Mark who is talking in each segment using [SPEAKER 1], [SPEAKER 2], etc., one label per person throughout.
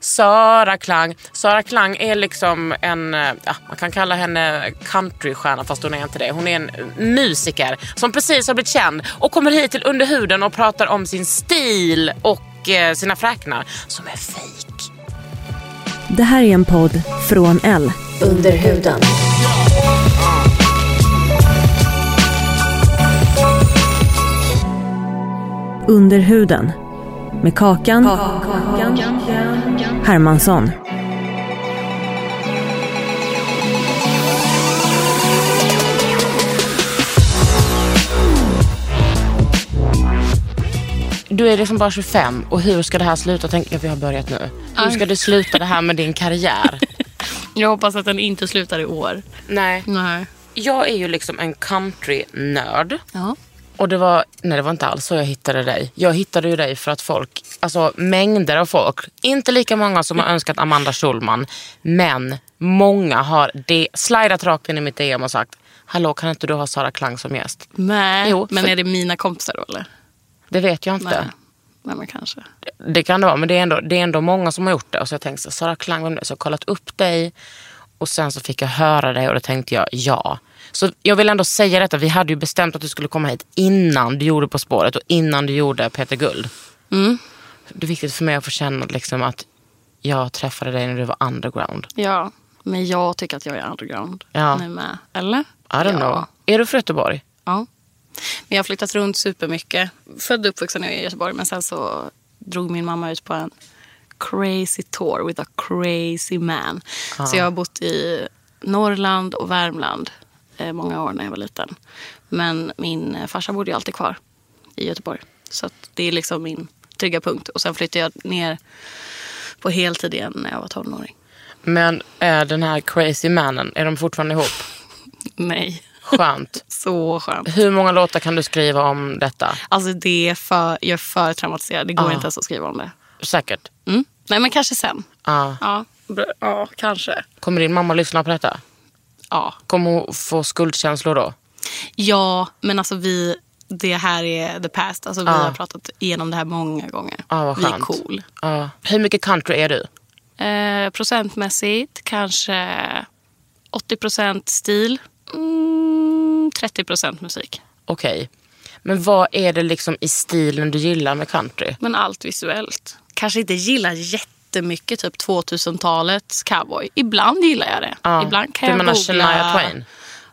[SPEAKER 1] Sara Klang. Sara Klang är liksom en, eh, ja, man kan kalla henne countrystjärna fast hon är inte det. Hon är en eh, musiker som precis har blivit känd och kommer hit till Underhuden och pratar om sin stil och eh, sina fräknar som är fejk.
[SPEAKER 2] Det här är en podd från L.
[SPEAKER 3] Under huden.
[SPEAKER 2] Under huden. Med Kakan, kakan Hermansson.
[SPEAKER 1] Du är liksom bara 25 och hur ska det här sluta? Tänk, ja, vi har börjat nu. Hur ska det sluta det här med din karriär?
[SPEAKER 4] Jag hoppas att den inte slutar i år.
[SPEAKER 1] Nej.
[SPEAKER 4] Nej.
[SPEAKER 1] Jag är ju liksom en country-nörd.
[SPEAKER 4] Ja.
[SPEAKER 1] Och det var, nej det var inte alls så jag hittade dig. Jag hittade ju dig för att folk, alltså mängder av folk, inte lika många som har önskat Amanda Schulman, men många har de, slidat rakt in i mitt DM och sagt, hallå kan inte du ha Sara Klang som gäst?
[SPEAKER 4] Nej,
[SPEAKER 1] Jo,
[SPEAKER 4] men
[SPEAKER 1] för-
[SPEAKER 4] är det mina kompisar då eller?
[SPEAKER 1] Det vet jag inte.
[SPEAKER 4] Nej. Nej, men kanske.
[SPEAKER 1] Det kan det vara, men det är ändå, det är ändå många som har gjort det. Och så jag tänkte, så här, Sara Klang, vem är det? Så jag har kollat upp dig och sen så fick jag höra dig och då tänkte jag, ja. Så jag vill ändå säga detta, vi hade ju bestämt att du skulle komma hit innan du gjorde På spåret och innan du gjorde Peter Guld. Det är viktigt för mig att få känna liksom, att jag träffade dig när du var underground.
[SPEAKER 4] Ja, men jag tycker att jag är underground.
[SPEAKER 1] Ja.
[SPEAKER 4] Nu med. Eller?
[SPEAKER 1] I don't
[SPEAKER 4] ja.
[SPEAKER 1] know. Är du från Göteborg?
[SPEAKER 4] Ja. Men jag har flyttat runt supermycket. Född och uppvuxen i Göteborg men sen så drog min mamma ut på en crazy tour with a crazy man. Så jag har bott i Norrland och Värmland eh, många år när jag var liten. Men min eh, farsa bodde ju alltid kvar i Göteborg. Så att det är liksom min trygga punkt. Och sen flyttade jag ner på heltid igen när jag var tonåring.
[SPEAKER 1] Men eh, den här crazy mannen, är de fortfarande ihop?
[SPEAKER 4] Nej,
[SPEAKER 1] Skönt.
[SPEAKER 4] så skönt.
[SPEAKER 1] Hur många låtar kan du skriva om detta?
[SPEAKER 4] Alltså det är för, jag är för traumatiserad. Det går
[SPEAKER 1] Ja.
[SPEAKER 4] inte ens att skriva om det.
[SPEAKER 1] Säkert.
[SPEAKER 4] Mm. Nej, men kanske sen.
[SPEAKER 1] Ja.
[SPEAKER 4] Ja, br- ja kanske.
[SPEAKER 1] Kommer din mamma lyssna på detta?
[SPEAKER 4] Ja.
[SPEAKER 1] Kommer hon få skuldkänslor då?
[SPEAKER 4] ja, men alltså vi... Det här är the past. Alltså, vi
[SPEAKER 1] Ja.
[SPEAKER 4] har pratat igenom det här många gånger.
[SPEAKER 1] Ja, vad
[SPEAKER 4] vi är
[SPEAKER 1] skönt.
[SPEAKER 4] cool.
[SPEAKER 1] Ja. Hur mycket country är du?
[SPEAKER 4] Eh, procentmässigt kanske 80 procent stil. Mm, 30 procent musik.
[SPEAKER 1] Okej. Men vad är det liksom i stilen du gillar med country?
[SPEAKER 4] Men allt visuellt. Kanske inte gillar jättemycket typ 2000-talets cowboy. Ibland gillar jag det.
[SPEAKER 1] Ja.
[SPEAKER 4] Ibland kan
[SPEAKER 1] du
[SPEAKER 4] jag
[SPEAKER 1] menar
[SPEAKER 4] googla...
[SPEAKER 1] Shania Twain?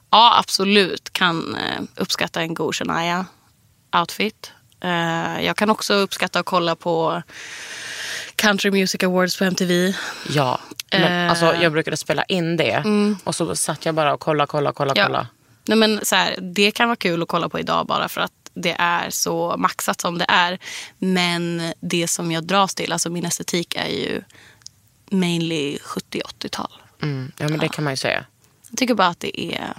[SPEAKER 4] Ja, absolut. Kan eh, uppskatta en god Shania-outfit. Eh, jag kan också uppskatta att kolla på Country Music Awards på MTV.
[SPEAKER 1] Ja. Men,
[SPEAKER 4] Eh.
[SPEAKER 1] alltså, jag brukade spela in det och så satt jag bara och kolla, kolla, kolla, kolla.
[SPEAKER 4] Nej, men så här, det kan vara kul att kolla på idag bara för att det är så maxat som det är. Men det som jag dras till, alltså min estetik är ju mainly 70-80-tal.
[SPEAKER 1] Mm. Ja, men det kan man ju säga.
[SPEAKER 4] Jag tycker bara att det är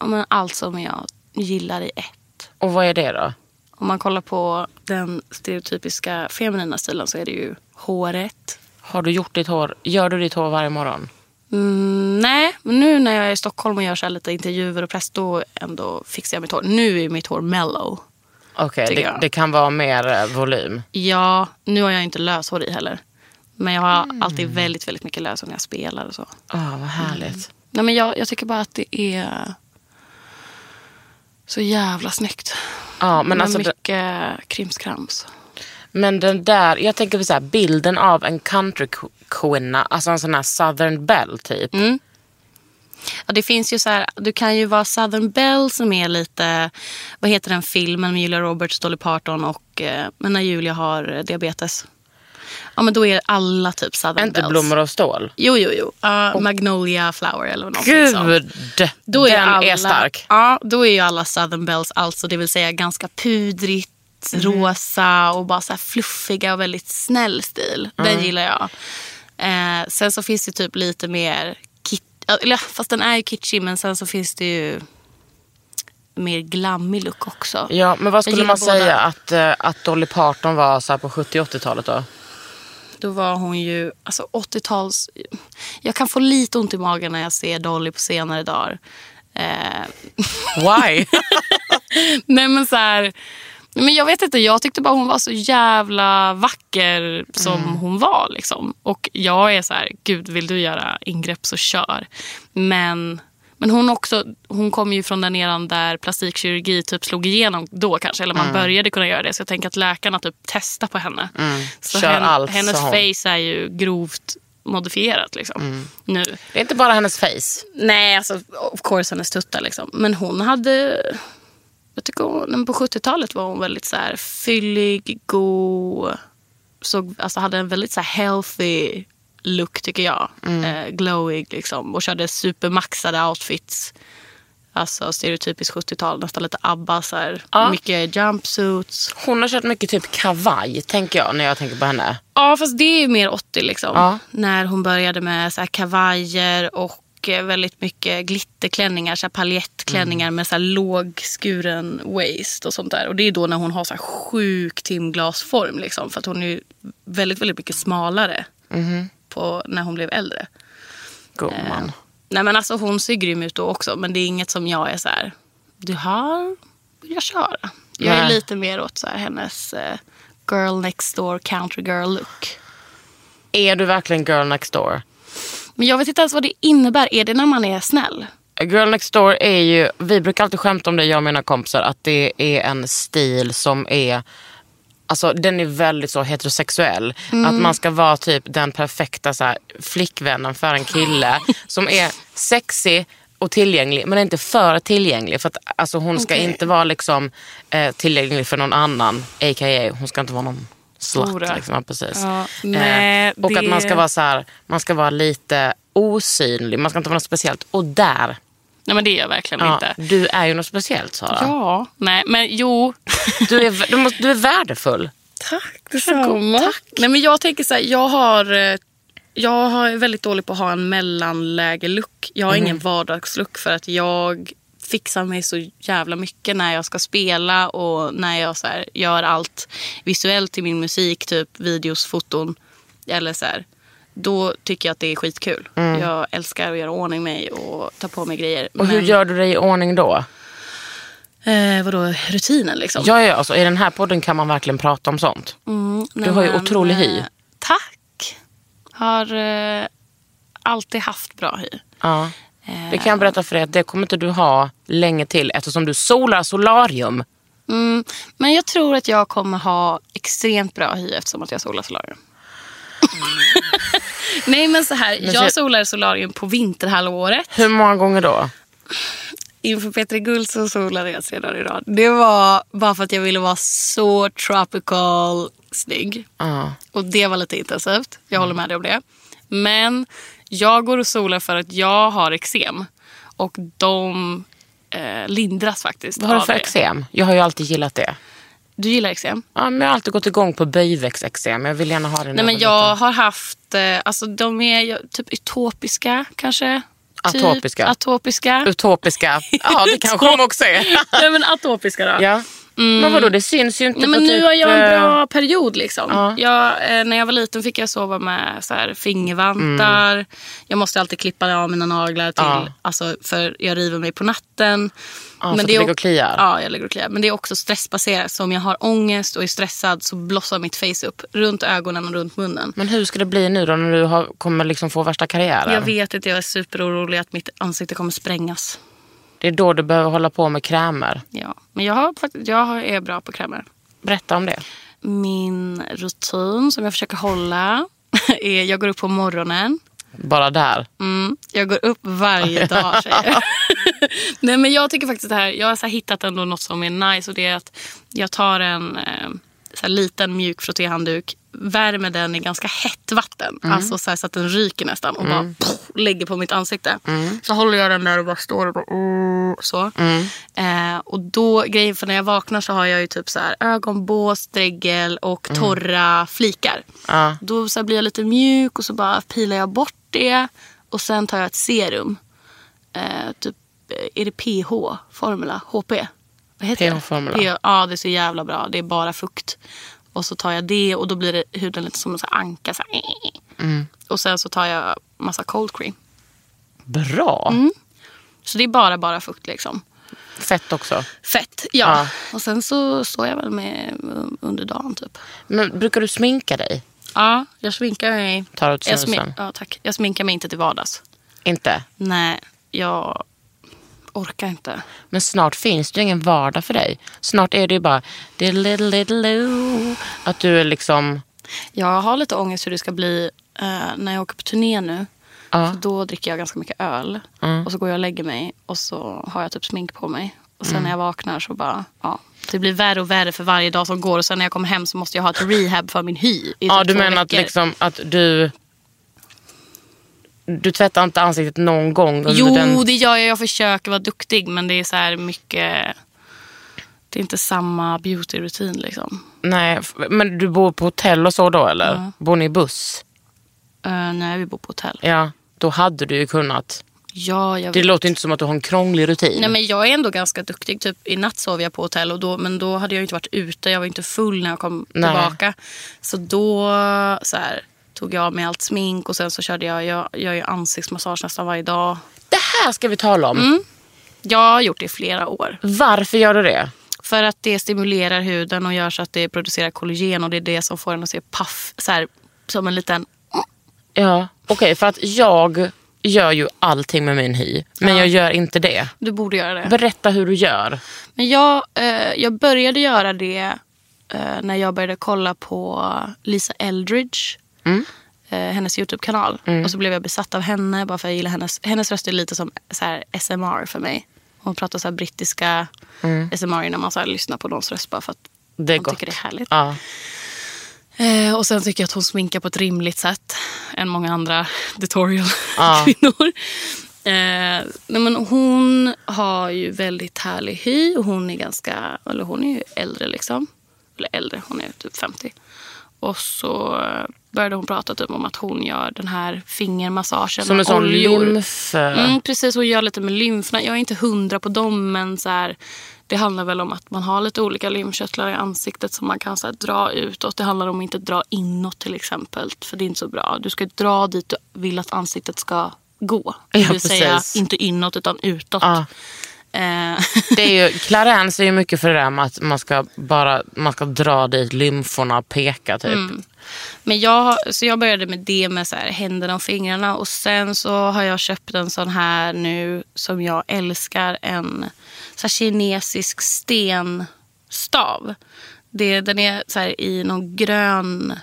[SPEAKER 4] ja, men allt som jag gillar i ett.
[SPEAKER 1] Och vad är det då?
[SPEAKER 4] Om man kollar på den stereotypiska feminina stilen så är det ju håret.
[SPEAKER 1] Har du gjort ditt hår? Gör du ditt hår varje morgon?
[SPEAKER 4] Mm, nej, men nu när jag är i Stockholm och gör så här lite intervjuer och press då ändå fixar jag mitt hår. Nu är mitt hår mellow.
[SPEAKER 1] Okej,
[SPEAKER 4] Tycker
[SPEAKER 1] det,
[SPEAKER 4] jag.
[SPEAKER 1] det kan vara mer eh, volym.
[SPEAKER 4] Ja, nu har jag inte löshår i heller. Men jag har
[SPEAKER 1] Mm.
[SPEAKER 4] alltid väldigt, väldigt mycket löshår när jag spelar och så.
[SPEAKER 1] Ah, vad härligt.
[SPEAKER 4] Nej, men jag, jag tycker bara att det är så jävla snyggt.
[SPEAKER 1] Ja, men
[SPEAKER 4] Med
[SPEAKER 1] alltså, det-
[SPEAKER 4] mycket krimskrams.
[SPEAKER 1] Men den där, jag tänker på så här, bilden av en countrykvinna, alltså en sån här southern belle typ.
[SPEAKER 4] Ja, det finns ju så här, du kan ju vara Southern Belle som är lite, vad heter den filmen med Julia Roberts, Dolly Parton och eh, men när Julia har eh, diabetes. Ja men då är alla typ Southern
[SPEAKER 1] Inte
[SPEAKER 4] Bells.
[SPEAKER 1] blommor av stål.
[SPEAKER 4] Jo, jo, jo. Ja, Magnolia Flower eller någonting sånt.
[SPEAKER 1] Gud!
[SPEAKER 4] Alltså, liksom. Då
[SPEAKER 1] den
[SPEAKER 4] alla,
[SPEAKER 1] är stark.
[SPEAKER 4] Ja, då är ju alla Southern Bells, alltså det vill säga ganska pudrigt,
[SPEAKER 1] Mm.
[SPEAKER 4] rosa och bara så här fluffiga och väldigt snäll stil.
[SPEAKER 1] Mm.
[SPEAKER 4] Den gillar jag. Eh, sen så finns det typ lite mer, kit- eller, fast den är ju kitschig, men sen så finns det ju mer glammig look också.
[SPEAKER 1] Ja, men vad
[SPEAKER 4] Jag
[SPEAKER 1] skulle
[SPEAKER 4] gillar
[SPEAKER 1] man
[SPEAKER 4] båda.
[SPEAKER 1] säga att, eh, att Dolly Parton var så här på 70-80-talet då?
[SPEAKER 4] Då var hon ju alltså 80-tals... Jag kan få lite ont i magen när jag ser Dolly på senare dagar. Eh,
[SPEAKER 1] Why?
[SPEAKER 4] Nej men så här, men jag vet inte, jag tyckte bara hon var så jävla vacker som
[SPEAKER 1] Mm.
[SPEAKER 4] hon var. Liksom. Och jag är så här, gud vill du göra ingrepp så kör. Men, men hon också, hon kom ju från den eran där plastikkirurgi typ slog igenom då kanske. Eller man
[SPEAKER 1] Mm.
[SPEAKER 4] började kunna göra det. Så jag tänker att läkarna typ testar på henne. Så
[SPEAKER 1] Kör allt, sa
[SPEAKER 4] hennes
[SPEAKER 1] hon. Mm.
[SPEAKER 4] face är ju grovt modifierat liksom. Nu.
[SPEAKER 1] det är inte bara hennes face.
[SPEAKER 4] Nej, alltså of course hennes tuttar liksom. Men hon hade... Jag tycker hon, men på 70-talet var hon väldigt så här fyllig, god. Såg, alltså hade en väldigt så här healthy look tycker jag. Eh, glowig liksom. Och körde supermaxade outfits. Alltså stereotypiskt 70-tal, nästan lite ABBA så här.
[SPEAKER 1] Ja.
[SPEAKER 4] Mycket jumpsuits.
[SPEAKER 1] Hon har kört mycket typ kavaj, tänker jag när jag tänker på henne.
[SPEAKER 4] Ja, fast det är ju mer 80 liksom.
[SPEAKER 1] Ja.
[SPEAKER 4] När hon började med så här kavajer och eh, väldigt mycket glitterklänningar, så här paljettklänningar
[SPEAKER 1] Mm.
[SPEAKER 4] med så här lågskuren waist och sånt där. Och det är då när hon har så här sjuk timglasform liksom. För att hon är ju väldigt, väldigt mycket smalare
[SPEAKER 1] Mm-hmm.
[SPEAKER 4] på, när hon blev äldre.
[SPEAKER 1] Gumman.
[SPEAKER 4] Nej men alltså hon ser grym ut då också men det är inget som jag är så här, det här vill jag köra. Jag är
[SPEAKER 1] Nej.
[SPEAKER 4] lite mer åt så här, hennes eh, girl next door country girl look.
[SPEAKER 1] Är du verkligen girl next door?
[SPEAKER 4] Men jag vet inte ens vad det innebär. Är det när man är snäll?
[SPEAKER 1] Girl next door är ju, vi brukar alltid skämta om det jag och mina kompisar, att det är en stil som är Alltså den är väldigt så heterosexuell.
[SPEAKER 4] Mm.
[SPEAKER 1] Att man ska vara typ den perfekta så här, flickvännen för en kille som är sexy och tillgänglig men inte för tillgänglig. För att, alltså, hon ska
[SPEAKER 4] Okej.
[SPEAKER 1] inte vara liksom, eh, tillgänglig för någon annan, a.k.a. hon ska inte vara någon slut.
[SPEAKER 4] Hora.
[SPEAKER 1] Liksom, ja, precis.
[SPEAKER 4] Ja, nej,
[SPEAKER 1] och att man
[SPEAKER 4] det-
[SPEAKER 1] ska vara så här, man ska vara lite osynlig, man ska inte vara något speciellt. Och där
[SPEAKER 4] Nej men det är jag verkligen
[SPEAKER 1] Ja,
[SPEAKER 4] inte.
[SPEAKER 1] Du är ju något speciellt Sara.
[SPEAKER 4] Ja, nej men jo.
[SPEAKER 1] Du, är, du, måste, du är värdefull.
[SPEAKER 4] Tack detsamma. Tack. Nej, men jag tänker så här, jag har... eh, Jag har- är väldigt dålig på att ha en mellanläge-look. Jag har
[SPEAKER 1] Mhm.
[SPEAKER 4] ingen vardagslook för att jag fixar mig så jävla mycket när jag ska spela och när jag så här, gör allt visuellt till min musik, typ videos, foton. Eller så här. Då tycker jag att det är skitkul. Jag älskar att göra ordning mig och ta på mig grejer.
[SPEAKER 1] Mm. Och hur gör du dig i ordning då?
[SPEAKER 4] eh, vadå, rutinen liksom?
[SPEAKER 1] Ja, ja, alltså, I den här podden kan man verkligen prata om sånt.
[SPEAKER 4] Mm, nej,
[SPEAKER 1] har ju
[SPEAKER 4] men,
[SPEAKER 1] otrolig hy.
[SPEAKER 4] eh, Tack. Har eh, alltid haft bra hy.
[SPEAKER 1] Ja.
[SPEAKER 4] Eh.
[SPEAKER 1] Det kan jag berätta för dig att det kommer inte du ha länge till eftersom du solar solarium.
[SPEAKER 4] Mm, men jag tror att jag kommer ha extremt bra hy eftersom att jag solar solarium. Nej men så här,
[SPEAKER 1] så-
[SPEAKER 4] jag solar solarium på vinterhalvåret.
[SPEAKER 1] Hur många gånger då?
[SPEAKER 4] Inför Petri Guld så solade jag tre dagar i rad. Det var bara för att jag ville vara så tropical snygg.
[SPEAKER 1] Ja.
[SPEAKER 4] Och det var lite intensivt. Jag håller
[SPEAKER 1] Mm.
[SPEAKER 4] med dig om det. Men jag går och solar för att jag har eksem. Och de eh, lindras faktiskt
[SPEAKER 1] Vad har du
[SPEAKER 4] av
[SPEAKER 1] för
[SPEAKER 4] det.
[SPEAKER 1] eksem? Jag har ju alltid gillat det.
[SPEAKER 4] Du gillar eksem?
[SPEAKER 1] Ja, men jag har alltid gått igång på böjväxteksem. Jag vill gärna ha det när
[SPEAKER 4] Nej men
[SPEAKER 1] var
[SPEAKER 4] jag
[SPEAKER 1] liten.
[SPEAKER 4] har haft, eh, alltså de är ju typ utopiska kanske. Typ
[SPEAKER 1] Atopiska.
[SPEAKER 4] atopiska.
[SPEAKER 1] Utopiska. Ja, det kanske de också är.
[SPEAKER 4] Nej men atopiska då.
[SPEAKER 1] ja. Men vadå, det syns ju inte
[SPEAKER 4] Mm. Nej,
[SPEAKER 1] på
[SPEAKER 4] men
[SPEAKER 1] typ...
[SPEAKER 4] nu har jag en
[SPEAKER 1] eh,
[SPEAKER 4] bra period. Liksom.
[SPEAKER 1] Ja.
[SPEAKER 4] Jag, eh, när jag var liten fick jag sova med så här, fingervantar. Jag måste alltid klippa av mina naglar till,
[SPEAKER 1] Mm. Ja.
[SPEAKER 4] alltså, för jag river mig på natten.
[SPEAKER 1] för att du ligger
[SPEAKER 4] o-
[SPEAKER 1] och kliar?
[SPEAKER 4] Ja, jag ligger och kliar. Men det är också stressbaserat. Så om jag har ångest och är stressad så blossar mitt face upp runt ögonen och runt munnen.
[SPEAKER 1] Men hur ska det bli nu då när du har, kommer liksom få värsta karriären?
[SPEAKER 4] Jag vet inte, jag är superorolig att mitt ansikte kommer sprängas.
[SPEAKER 1] Det är då du behöver hålla på med krämer.
[SPEAKER 4] Ja. Men jag, har, fakt- jag är bra på krämer.
[SPEAKER 1] Berätta om det.
[SPEAKER 4] Min rutin som jag försöker hålla är jag går upp på morgonen.
[SPEAKER 1] Bara där.
[SPEAKER 4] Mm, jag går upp varje dag säger jag. Nej men jag tycker faktiskt det här, jag har så här hittat ändå något som är nice och det är att jag tar en eh, så här liten mjuk frottéhandduk, värmer den i ganska hett vatten, alltså så, här, så att den ryker nästan och bara pff, lägger på mitt ansikte. Så håller jag den där och bara står och bara, "Åh", så. Eh, och då, grejen för när jag vaknar så har jag ju typ så här ögonbås, dregel och torra flikar.
[SPEAKER 1] Ja.
[SPEAKER 4] Då så här blir jag lite mjuk och så bara pilar jag bort det. Och sen tar jag ett serum. Eh, typ, eh, är det PH? Formula? HP? Vad heter det?
[SPEAKER 1] PH-formula.
[SPEAKER 4] P- ja, det är så jävla bra. Det är bara fukt. Och så tar jag det och då blir det huden lite som en så här anka. Så här.
[SPEAKER 1] Mm.
[SPEAKER 4] Och sen så tar jag massa cold cream.
[SPEAKER 1] Bra.
[SPEAKER 4] Så det är bara, bara fukt liksom.
[SPEAKER 1] Fett också.
[SPEAKER 4] Fett, ja.
[SPEAKER 1] Ja.
[SPEAKER 4] Och sen så står jag väl med um, under dagen typ.
[SPEAKER 1] Men brukar du sminka dig?
[SPEAKER 4] Ja, jag sminkar mig.
[SPEAKER 1] Tar du ett
[SPEAKER 4] jag,
[SPEAKER 1] snus
[SPEAKER 4] smi-
[SPEAKER 1] sen?
[SPEAKER 4] ja, tack. jag sminkar mig inte till vardags.
[SPEAKER 1] Inte?
[SPEAKER 4] Nej, jag orkar inte.
[SPEAKER 1] Men snart finns det ju ingen vardag för dig. Snart är det ju bara diddle diddle do. Att du är liksom...
[SPEAKER 4] Jag har lite ångest hur det ska bli eh, när jag åker på turné nu.
[SPEAKER 1] Ja. Mm.
[SPEAKER 4] För då dricker jag ganska mycket öl. Och så går jag och lägger mig och så har jag typ smink på mig. Och
[SPEAKER 1] Mm.
[SPEAKER 4] sen när jag vaknar så bara, ja. Det blir värre och värre för varje dag som går. Och sen när jag kommer hem så måste jag ha ett rehab för min hy. i
[SPEAKER 1] Ja,
[SPEAKER 4] typ
[SPEAKER 1] du
[SPEAKER 4] två
[SPEAKER 1] menar att,
[SPEAKER 4] veckor.
[SPEAKER 1] liksom, att du... Du tvättar inte ansiktet någon gång under
[SPEAKER 4] Jo,
[SPEAKER 1] den...
[SPEAKER 4] det gör jag. Jag försöker vara duktig. Men det är så här mycket... Det är inte samma beautyrutin liksom.
[SPEAKER 1] Nej, f- men du bor på hotell och så då eller? Bor ni i buss?
[SPEAKER 4] Eh, när vi bor på hotell.
[SPEAKER 1] Ja, då hade du ju kunnat.
[SPEAKER 4] Ja, jag
[SPEAKER 1] Det
[SPEAKER 4] vet.
[SPEAKER 1] låter inte som att du har en krånglig rutin.
[SPEAKER 4] Nej, men jag är ändå ganska duktig. Typ, I natt sov jag på hotell, och då, men då hade jag ju inte varit ute. Jag var inte full när jag kom
[SPEAKER 1] Nej.
[SPEAKER 4] tillbaka. Så då så här, tog jag av mig allt smink och sen så körde jag, jag, jag gör ju ansiktsmassage nästan varje dag.
[SPEAKER 1] Det här ska vi tala om.
[SPEAKER 4] Mm. Jag har gjort det i flera år.
[SPEAKER 1] Varför gör du det?
[SPEAKER 4] För att det stimulerar huden och gör så att det producerar kollagen och det är det som får en att se paff, så här, som en liten...
[SPEAKER 1] Ja, okej, för att jag gör ju allting med min hy, men jag gör inte det.
[SPEAKER 4] Du borde göra det.
[SPEAKER 1] Berätta hur du gör.
[SPEAKER 4] Men jag, eh, jag började göra det eh, när jag började kolla på Lisa Eldridge. Eh, hennes Youtube-kanal. Och så blev jag besatt av henne bara för jag gillar hennes, hennes röst är lite som så här, SMR för mig. Hon pratar så här brittiska SMR när man så här, lyssnar på någons röst bara för att
[SPEAKER 1] Det är
[SPEAKER 4] man
[SPEAKER 1] gott.
[SPEAKER 4] tycker det är härligt.
[SPEAKER 1] Ja.
[SPEAKER 4] Eh, och sen tycker jag att hon sminkar på ett rimligt sätt än många andra
[SPEAKER 1] Ja.
[SPEAKER 4] tutorial-kvinnor. Eh, nej men hon har ju väldigt härlig hy och hon är ganska, eller hon är ju äldre liksom. Eller äldre, hon är typ 50. Och så eh, började hon prata typ om att hon gör den här fingermassagen
[SPEAKER 1] Som en
[SPEAKER 4] med
[SPEAKER 1] sån
[SPEAKER 4] oljor.
[SPEAKER 1] lymf...
[SPEAKER 4] Mm, precis, hon gör lite med lymferna. Jag är inte hundra på dem, men så här, det handlar väl om att man har lite olika lymfkörtlar i ansiktet som man kan så här, dra utåt. Det handlar om att inte dra inåt till exempel, för det är inte så bra. Du ska dra dit du vill att ansiktet ska gå. Det
[SPEAKER 1] Ja,
[SPEAKER 4] vill säga,
[SPEAKER 1] precis.
[SPEAKER 4] inte inåt utan utåt.
[SPEAKER 1] Ja.
[SPEAKER 4] Eh,
[SPEAKER 1] Det är ju, Clarence är ju mycket för det där med att man ska, bara, man ska dra dit lymforna och peka typ.
[SPEAKER 4] Mm. Men jag, har- så jag började med det med så här, händerna och fingrarna. Och sen så har jag köpt en sån här nu som jag älskar. En så här, kinesisk stenstav. Det, den är så här, i någon grön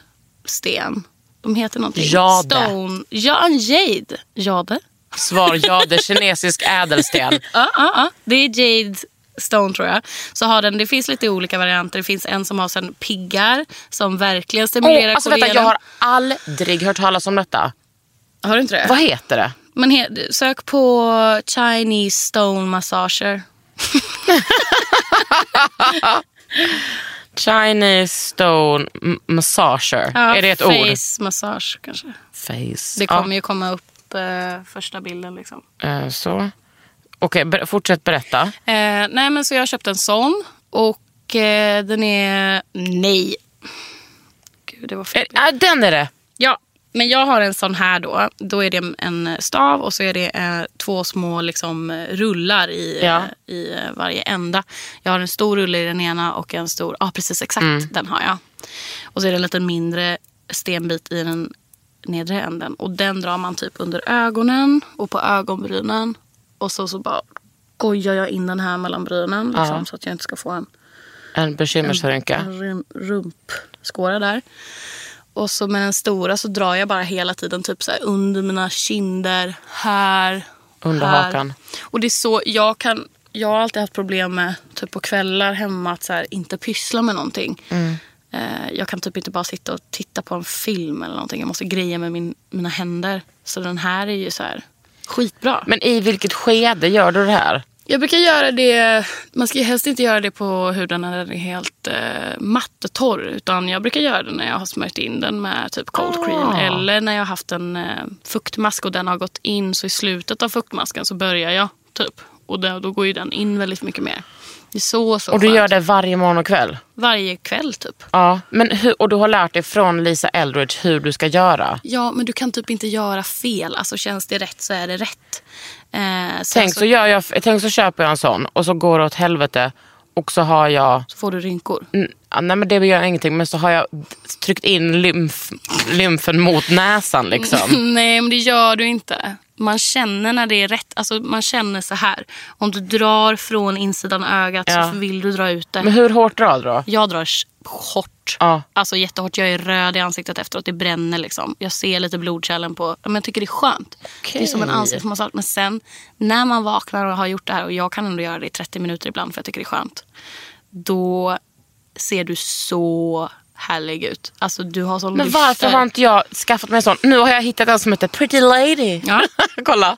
[SPEAKER 4] sten. De heter någonting.
[SPEAKER 1] Jade.
[SPEAKER 4] Stone. Ja, en jade. Jade?
[SPEAKER 1] Svar ja, det är kinesisk ädelsten.
[SPEAKER 4] Ja, ja, ja. Det är Jade Stone tror jag. Så har den, det finns lite olika varianter. Det finns en som har sen piggar som verkligen stimulerar
[SPEAKER 1] Åh, alltså, vänta, jag
[SPEAKER 4] kollagenen.
[SPEAKER 1] har aldrig hört talas om detta.
[SPEAKER 4] har du inte det?
[SPEAKER 1] Vad heter det?
[SPEAKER 4] Men he- sök på Chinese stone massager.
[SPEAKER 1] Chinese stone m- massager. är det ett ord?
[SPEAKER 4] Face massage kanske.
[SPEAKER 1] Face.
[SPEAKER 4] Det
[SPEAKER 1] Ja,
[SPEAKER 4] kommer ju komma upp eh, första bilden liksom.
[SPEAKER 1] eh, så. Okej, ber- fortsätt berätta.
[SPEAKER 4] Eh, nej men så jag köpte en sån och eh, den är... Nej. Gud det var fel.
[SPEAKER 1] Eh, ah, den är det.
[SPEAKER 4] Ja, men jag har en sån här då. Då är det en stav och så är det eh, två små liksom, eh, rullar i, eh,
[SPEAKER 1] Ja.
[SPEAKER 4] i eh, varje ända. Jag har en stor rulle i den ena och en stor, ja ah, precis exakt
[SPEAKER 1] Mm.
[SPEAKER 4] den har jag. Och så är det en liten mindre stenbit i den nedre änden. Och den drar man typ under ögonen och på ögonbrynen. Och så, så bara gojar jag in den här mellan brynen liksom,
[SPEAKER 1] Ja.
[SPEAKER 4] så att jag inte ska få en,
[SPEAKER 1] En bekymmersrynka.
[SPEAKER 4] en rum, rump. skåra där. Och så med den stora så drar jag bara hela tiden typ så här under mina kinder, här,
[SPEAKER 1] Under
[SPEAKER 4] här.
[SPEAKER 1] hakan.
[SPEAKER 4] Och det är så jag kan... Jag har alltid haft problem med typ på kvällar hemma att så här, inte pyssla med någonting.
[SPEAKER 1] Mm.
[SPEAKER 4] Eh, jag kan typ inte bara sitta och titta på en film eller någonting. Jag måste greja med min, mina händer. Så den här är ju så här skitbra.
[SPEAKER 1] Men i vilket skede gör du det här?
[SPEAKER 4] Jag brukar göra det, man ska ju helst inte göra det på huden när den är helt eh, mattetorr. Utan jag brukar göra det när jag har smörjt in den med typ cold cream.
[SPEAKER 1] Ah.
[SPEAKER 4] Eller när jag har haft en eh, fuktmask och den har gått in. Så i slutet av fuktmasken så börjar jag typ. Och då, då går ju den in väldigt mycket mer. Det är så, så
[SPEAKER 1] Och du
[SPEAKER 4] skönt.
[SPEAKER 1] gör det varje morgon och kväll?
[SPEAKER 4] Varje kväll typ.
[SPEAKER 1] Ja. Men hur, och du har lärt dig från Lisa Eldridge hur du ska göra?
[SPEAKER 4] Ja, men du kan typ inte göra fel. Alltså känns det rätt så är det rätt. Eh, sen
[SPEAKER 1] Tänk så, gör jag, tänk så köper jag en sån och så går det åt helvete och så har jag
[SPEAKER 4] så får du rynkor.
[SPEAKER 1] Mm, ja, Nej men det gör ingenting men så har jag tryckt in lymf, lymfen mot näsan liksom.
[SPEAKER 4] Nej, men det gör du inte. Man känner när det är rätt. Alltså, man känner så här. Om du drar från insidan av ögat
[SPEAKER 1] Ja.
[SPEAKER 4] så vill du dra ut det.
[SPEAKER 1] Men hur hårt drar du då?
[SPEAKER 4] Jag drar s- hårt.
[SPEAKER 1] Ja.
[SPEAKER 4] Alltså jättehårt. Jag är röd i ansiktet efteråt. Det bränner liksom. Jag ser lite blodkärlen på... Men jag tycker det är skönt. Det är som en
[SPEAKER 1] Okej.
[SPEAKER 4] ansiktsmassage. Men sen när man vaknar och har gjort det här och jag kan ändå göra det i 30 minuter ibland för jag tycker det är skönt. Då ser du så härlig ut. Alltså du har sån
[SPEAKER 1] Men
[SPEAKER 4] lyster.
[SPEAKER 1] varför har inte jag skaffat mig en sån? Nu har jag hittat en som heter Pretty Lady.
[SPEAKER 4] Ja.
[SPEAKER 1] Kolla. Och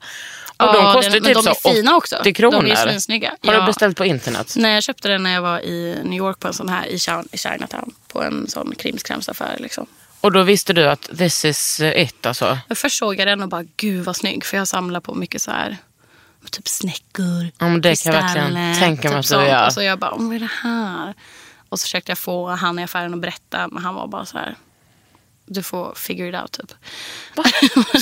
[SPEAKER 4] Ja,
[SPEAKER 1] de
[SPEAKER 4] den-
[SPEAKER 1] kostar ju
[SPEAKER 4] men
[SPEAKER 1] typ
[SPEAKER 4] de är
[SPEAKER 1] så
[SPEAKER 4] fina också.
[SPEAKER 1] 80 kronor.
[SPEAKER 4] De är ju svinsnygga.
[SPEAKER 1] Har du
[SPEAKER 4] Ja.
[SPEAKER 1] beställt på internet?
[SPEAKER 4] Nej, jag köpte den när jag var i New York på en sån här i China- i Chinatown. På en sån krimskramsaffär. Liksom.
[SPEAKER 1] Och då visste du att this is it alltså?
[SPEAKER 4] Jag först såg jag den och bara, gud vad snygg. För jag samlar på mycket så här, typ snäckor,
[SPEAKER 1] Ja, men det kan jag verkligen
[SPEAKER 4] kristaller,
[SPEAKER 1] tänka mig
[SPEAKER 4] typ
[SPEAKER 1] att du
[SPEAKER 4] sånt.
[SPEAKER 1] gör.
[SPEAKER 4] Och så jag bara, "Åh, vad är det här? Och så försökte jag få han i affären att berätta, men han var bara så här, du får figure it out typ.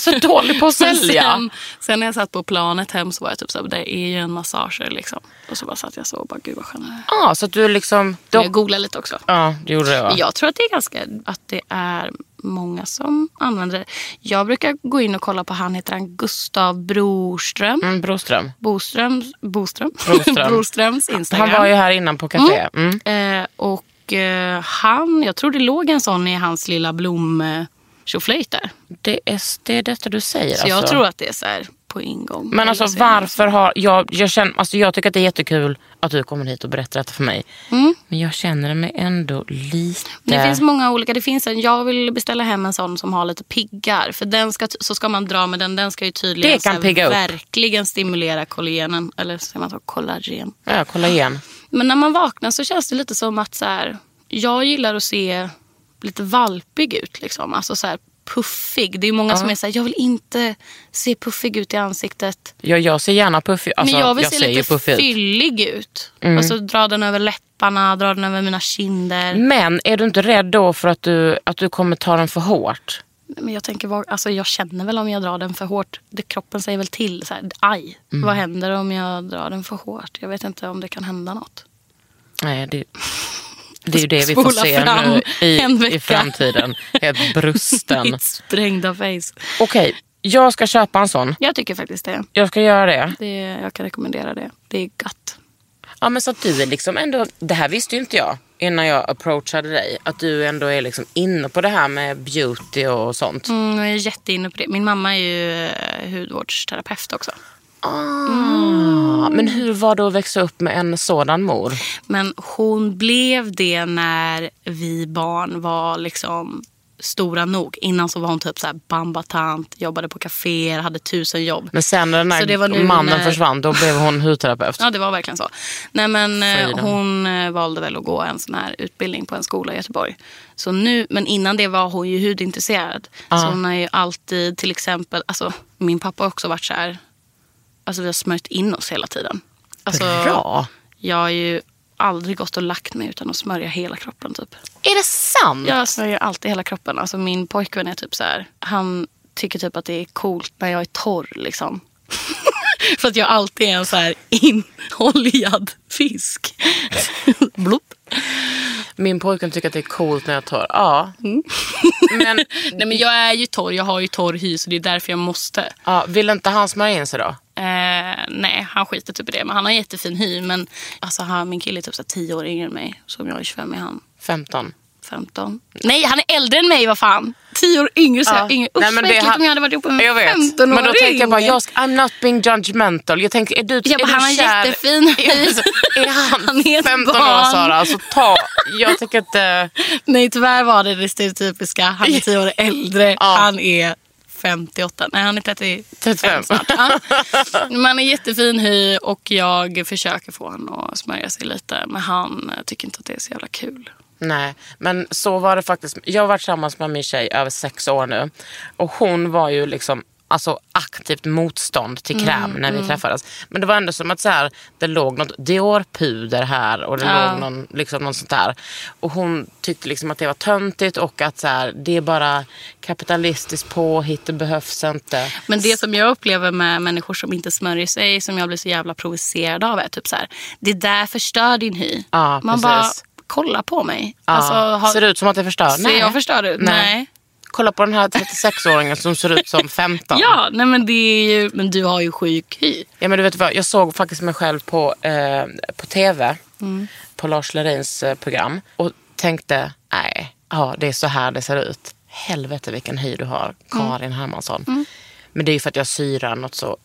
[SPEAKER 1] Så dålig på att
[SPEAKER 4] Men
[SPEAKER 1] sälja.
[SPEAKER 4] Sen, sen när jag satt på planet hem så var jag typ så här, det är ju en massager liksom. Och så bara satt jag så och bara, gud vad skön den är.
[SPEAKER 1] Ja, så att du liksom...
[SPEAKER 4] Men
[SPEAKER 1] De,
[SPEAKER 4] Jag googlade lite också.
[SPEAKER 1] ja, det gjorde det va?
[SPEAKER 4] Jag tror att det är ganska att det är många som använder det. Jag brukar gå in och kolla på han heter han Gustav Broström.
[SPEAKER 1] Mm, Broström.
[SPEAKER 4] Boströms, Boström?
[SPEAKER 1] Broström.
[SPEAKER 4] Broströms Instagram.
[SPEAKER 1] Han var ju här innan på café. Mm.
[SPEAKER 4] eh, och eh, han, jag tror det låg en sån i hans lilla blom eh, tjoflöjt där.
[SPEAKER 1] Det, är, det är detta du säger
[SPEAKER 4] Så jag
[SPEAKER 1] alltså.
[SPEAKER 4] tror att det är så här på ingång.
[SPEAKER 1] Men alltså
[SPEAKER 4] Eller så är det-
[SPEAKER 1] varför har... Jag, jag, känner, alltså, jag tycker att det är jättekul att du kommer hit och berättar detta för mig. Men jag känner mig ändå lite...
[SPEAKER 4] Men Det Mm. finns många olika. Det finns en, jag vill beställa hem en sån som har lite piggar. För den ska, så ska man dra med den. Den ska ju tydligen
[SPEAKER 1] Det kan
[SPEAKER 4] så här
[SPEAKER 1] pigga upp.
[SPEAKER 4] verkligen stimulera kollagenen. Eller säger man så? Kollagen.
[SPEAKER 1] ja, kolla igen.
[SPEAKER 4] Men när man vaknar så känns det lite som att så här, jag gillar att se lite valpig ut. Liksom. Alltså så här, puffig. Det är många som är så här, jag vill inte se puffig ut i ansiktet.
[SPEAKER 1] Jag, jag ser gärna puffig alltså,
[SPEAKER 4] men jag vill se
[SPEAKER 1] ser ju
[SPEAKER 4] lite
[SPEAKER 1] puffig ut. Mm.
[SPEAKER 4] fyllig ut. Alltså dra den över läpparna, dra den över mina kinder.
[SPEAKER 1] Men är du inte rädd då för att du, att du kommer ta den för hårt?
[SPEAKER 4] Men jag tänker, vad, alltså jag känner väl om jag drar den för hårt. Det, kroppen säger väl till. Så här, aj, vad händer om jag drar den för hårt? Jag vet inte om det kan hända något.
[SPEAKER 1] Nej, det, det är ju det vi får
[SPEAKER 4] Spola
[SPEAKER 1] se
[SPEAKER 4] fram
[SPEAKER 1] nu
[SPEAKER 4] en
[SPEAKER 1] i,
[SPEAKER 4] vecka.
[SPEAKER 1] i framtiden. Helt brusten.
[SPEAKER 4] Mitt sprängda face.
[SPEAKER 1] Okej, jag ska köpa en sån.
[SPEAKER 4] Jag tycker faktiskt det.
[SPEAKER 1] Jag ska göra det.
[SPEAKER 4] det jag kan rekommendera det. Det är gott.
[SPEAKER 1] Ja, men så att du är liksom ändå, det här visste ju inte jag innan jag approachade dig. Att du ändå är liksom inne på det här med beauty och sånt.
[SPEAKER 4] Mm, jag är jätteinne på det. Min mamma är ju eh, hudvårdsterapeut också.
[SPEAKER 1] Ah, men hur var det att växa upp med en sådan mor?
[SPEAKER 4] Men hon blev det när vi barn var liksom stora nog. Innan så var hon typ så här bambatant, jobbade på kaféer, hade tusen jobb.
[SPEAKER 1] Men sen när den
[SPEAKER 4] Så det var
[SPEAKER 1] här
[SPEAKER 4] nu
[SPEAKER 1] mannen
[SPEAKER 4] när-
[SPEAKER 1] försvann, då blev hon hudterapeut.
[SPEAKER 4] Ja, det var verkligen så. Nej, men eh,
[SPEAKER 1] Freedom.
[SPEAKER 4] hon eh, valde väl att gå en sån här utbildning på en skola i Göteborg. Så nu, men innan det var hon ju hudintresserad. Så hon har ju alltid, till exempel, alltså min pappa har också varit så här, alltså vi har smörjt in oss hela tiden. Alltså,
[SPEAKER 1] Bra!
[SPEAKER 4] Jag har ju aldrig gått och lagt mig utan att smörja hela kroppen typ.
[SPEAKER 1] Är det sant?
[SPEAKER 4] Jag smörjer alltid hela kroppen. Alltså min pojkvän är typ så här, han tycker typ att det är coolt när jag är torr liksom. För att jag alltid är en så här inoljad fisk. Blopp.
[SPEAKER 1] Min pojkvän tycker att det är coolt när jag tar. Ja. Men
[SPEAKER 4] Nej men jag är ju torr, jag har ju torr hy så det är därför jag måste.
[SPEAKER 1] ja, vill inte han smörja in sig då?
[SPEAKER 4] Eh, nej, han skiter typ i det. Men han har jättefin hy. Men alltså, han, min kille är typ så här 10 år yngre än mig. Som jag är 25 är han
[SPEAKER 1] 15.
[SPEAKER 4] 15. Nej, han är äldre än mig, vad fan. 10 år yngre. Så jag, yngre. Usch, vad äckligt om jag hade varit ihop med
[SPEAKER 1] jag
[SPEAKER 4] en
[SPEAKER 1] vet.
[SPEAKER 4] 15-åring.
[SPEAKER 1] Men då tänkte jag bara, jag ska, I'm not being judgmental. Jag tänker, är du,
[SPEAKER 4] Jag
[SPEAKER 1] är
[SPEAKER 4] bara,
[SPEAKER 1] du
[SPEAKER 4] han har
[SPEAKER 1] kär?
[SPEAKER 4] jättefin hy.
[SPEAKER 1] Är, är han,
[SPEAKER 4] Han är ett
[SPEAKER 1] 15 år
[SPEAKER 4] barn.
[SPEAKER 1] Sara? Alltså ta, jag tycker inte...
[SPEAKER 4] Nej, tyvärr var det det stereotypiska. Han är 10 år äldre.
[SPEAKER 1] Ja.
[SPEAKER 4] Han är 58. Nej, han är 30,
[SPEAKER 1] 35.
[SPEAKER 4] snart. Ja. Man är jättefin hy och jag försöker få honom att smörja sig lite. Men han eh, tycker inte att det är så jävla kul.
[SPEAKER 1] Nej, men så var det faktiskt. Jag har varit tillsammans med min tjej över sex år nu. Och hon var ju liksom alltså, aktivt motstånd
[SPEAKER 4] Mm,
[SPEAKER 1] till kräm när vi träffades. Men det var ändå som att så här, det låg något Dior-puder här och det låg någon, liksom, någon sånt där. Och hon tyckte liksom att det var töntigt och att så här, det är bara kapitalistiskt påhitt, det behövs inte.
[SPEAKER 4] Men det som jag upplever med människor som inte smörjer sig, som jag blir så jävla provocerad av, är typ så här, det där förstör din hy.
[SPEAKER 1] Ja,
[SPEAKER 4] Man
[SPEAKER 1] precis.
[SPEAKER 4] bara, kolla på mig.
[SPEAKER 1] Ja.
[SPEAKER 4] Alltså, har-
[SPEAKER 1] Ser det ut som att det förstör?
[SPEAKER 4] Ser jag förstörd ut? Nej.
[SPEAKER 1] Kolla på den här 36-åringen som ser ut som 15.
[SPEAKER 4] Ja, nej men det är ju, men du har ju sjuk hy.
[SPEAKER 1] Ja, men du vet vad, jag såg faktiskt mig själv på, eh, på tv,
[SPEAKER 4] Mm.
[SPEAKER 1] på Lars Lerins eh, program och tänkte, nej, ja, det är så här det ser ut. Helvete vilken hy du har,
[SPEAKER 4] Mm.
[SPEAKER 1] Karin Hermansson. Men det är ju för att jag syrar något så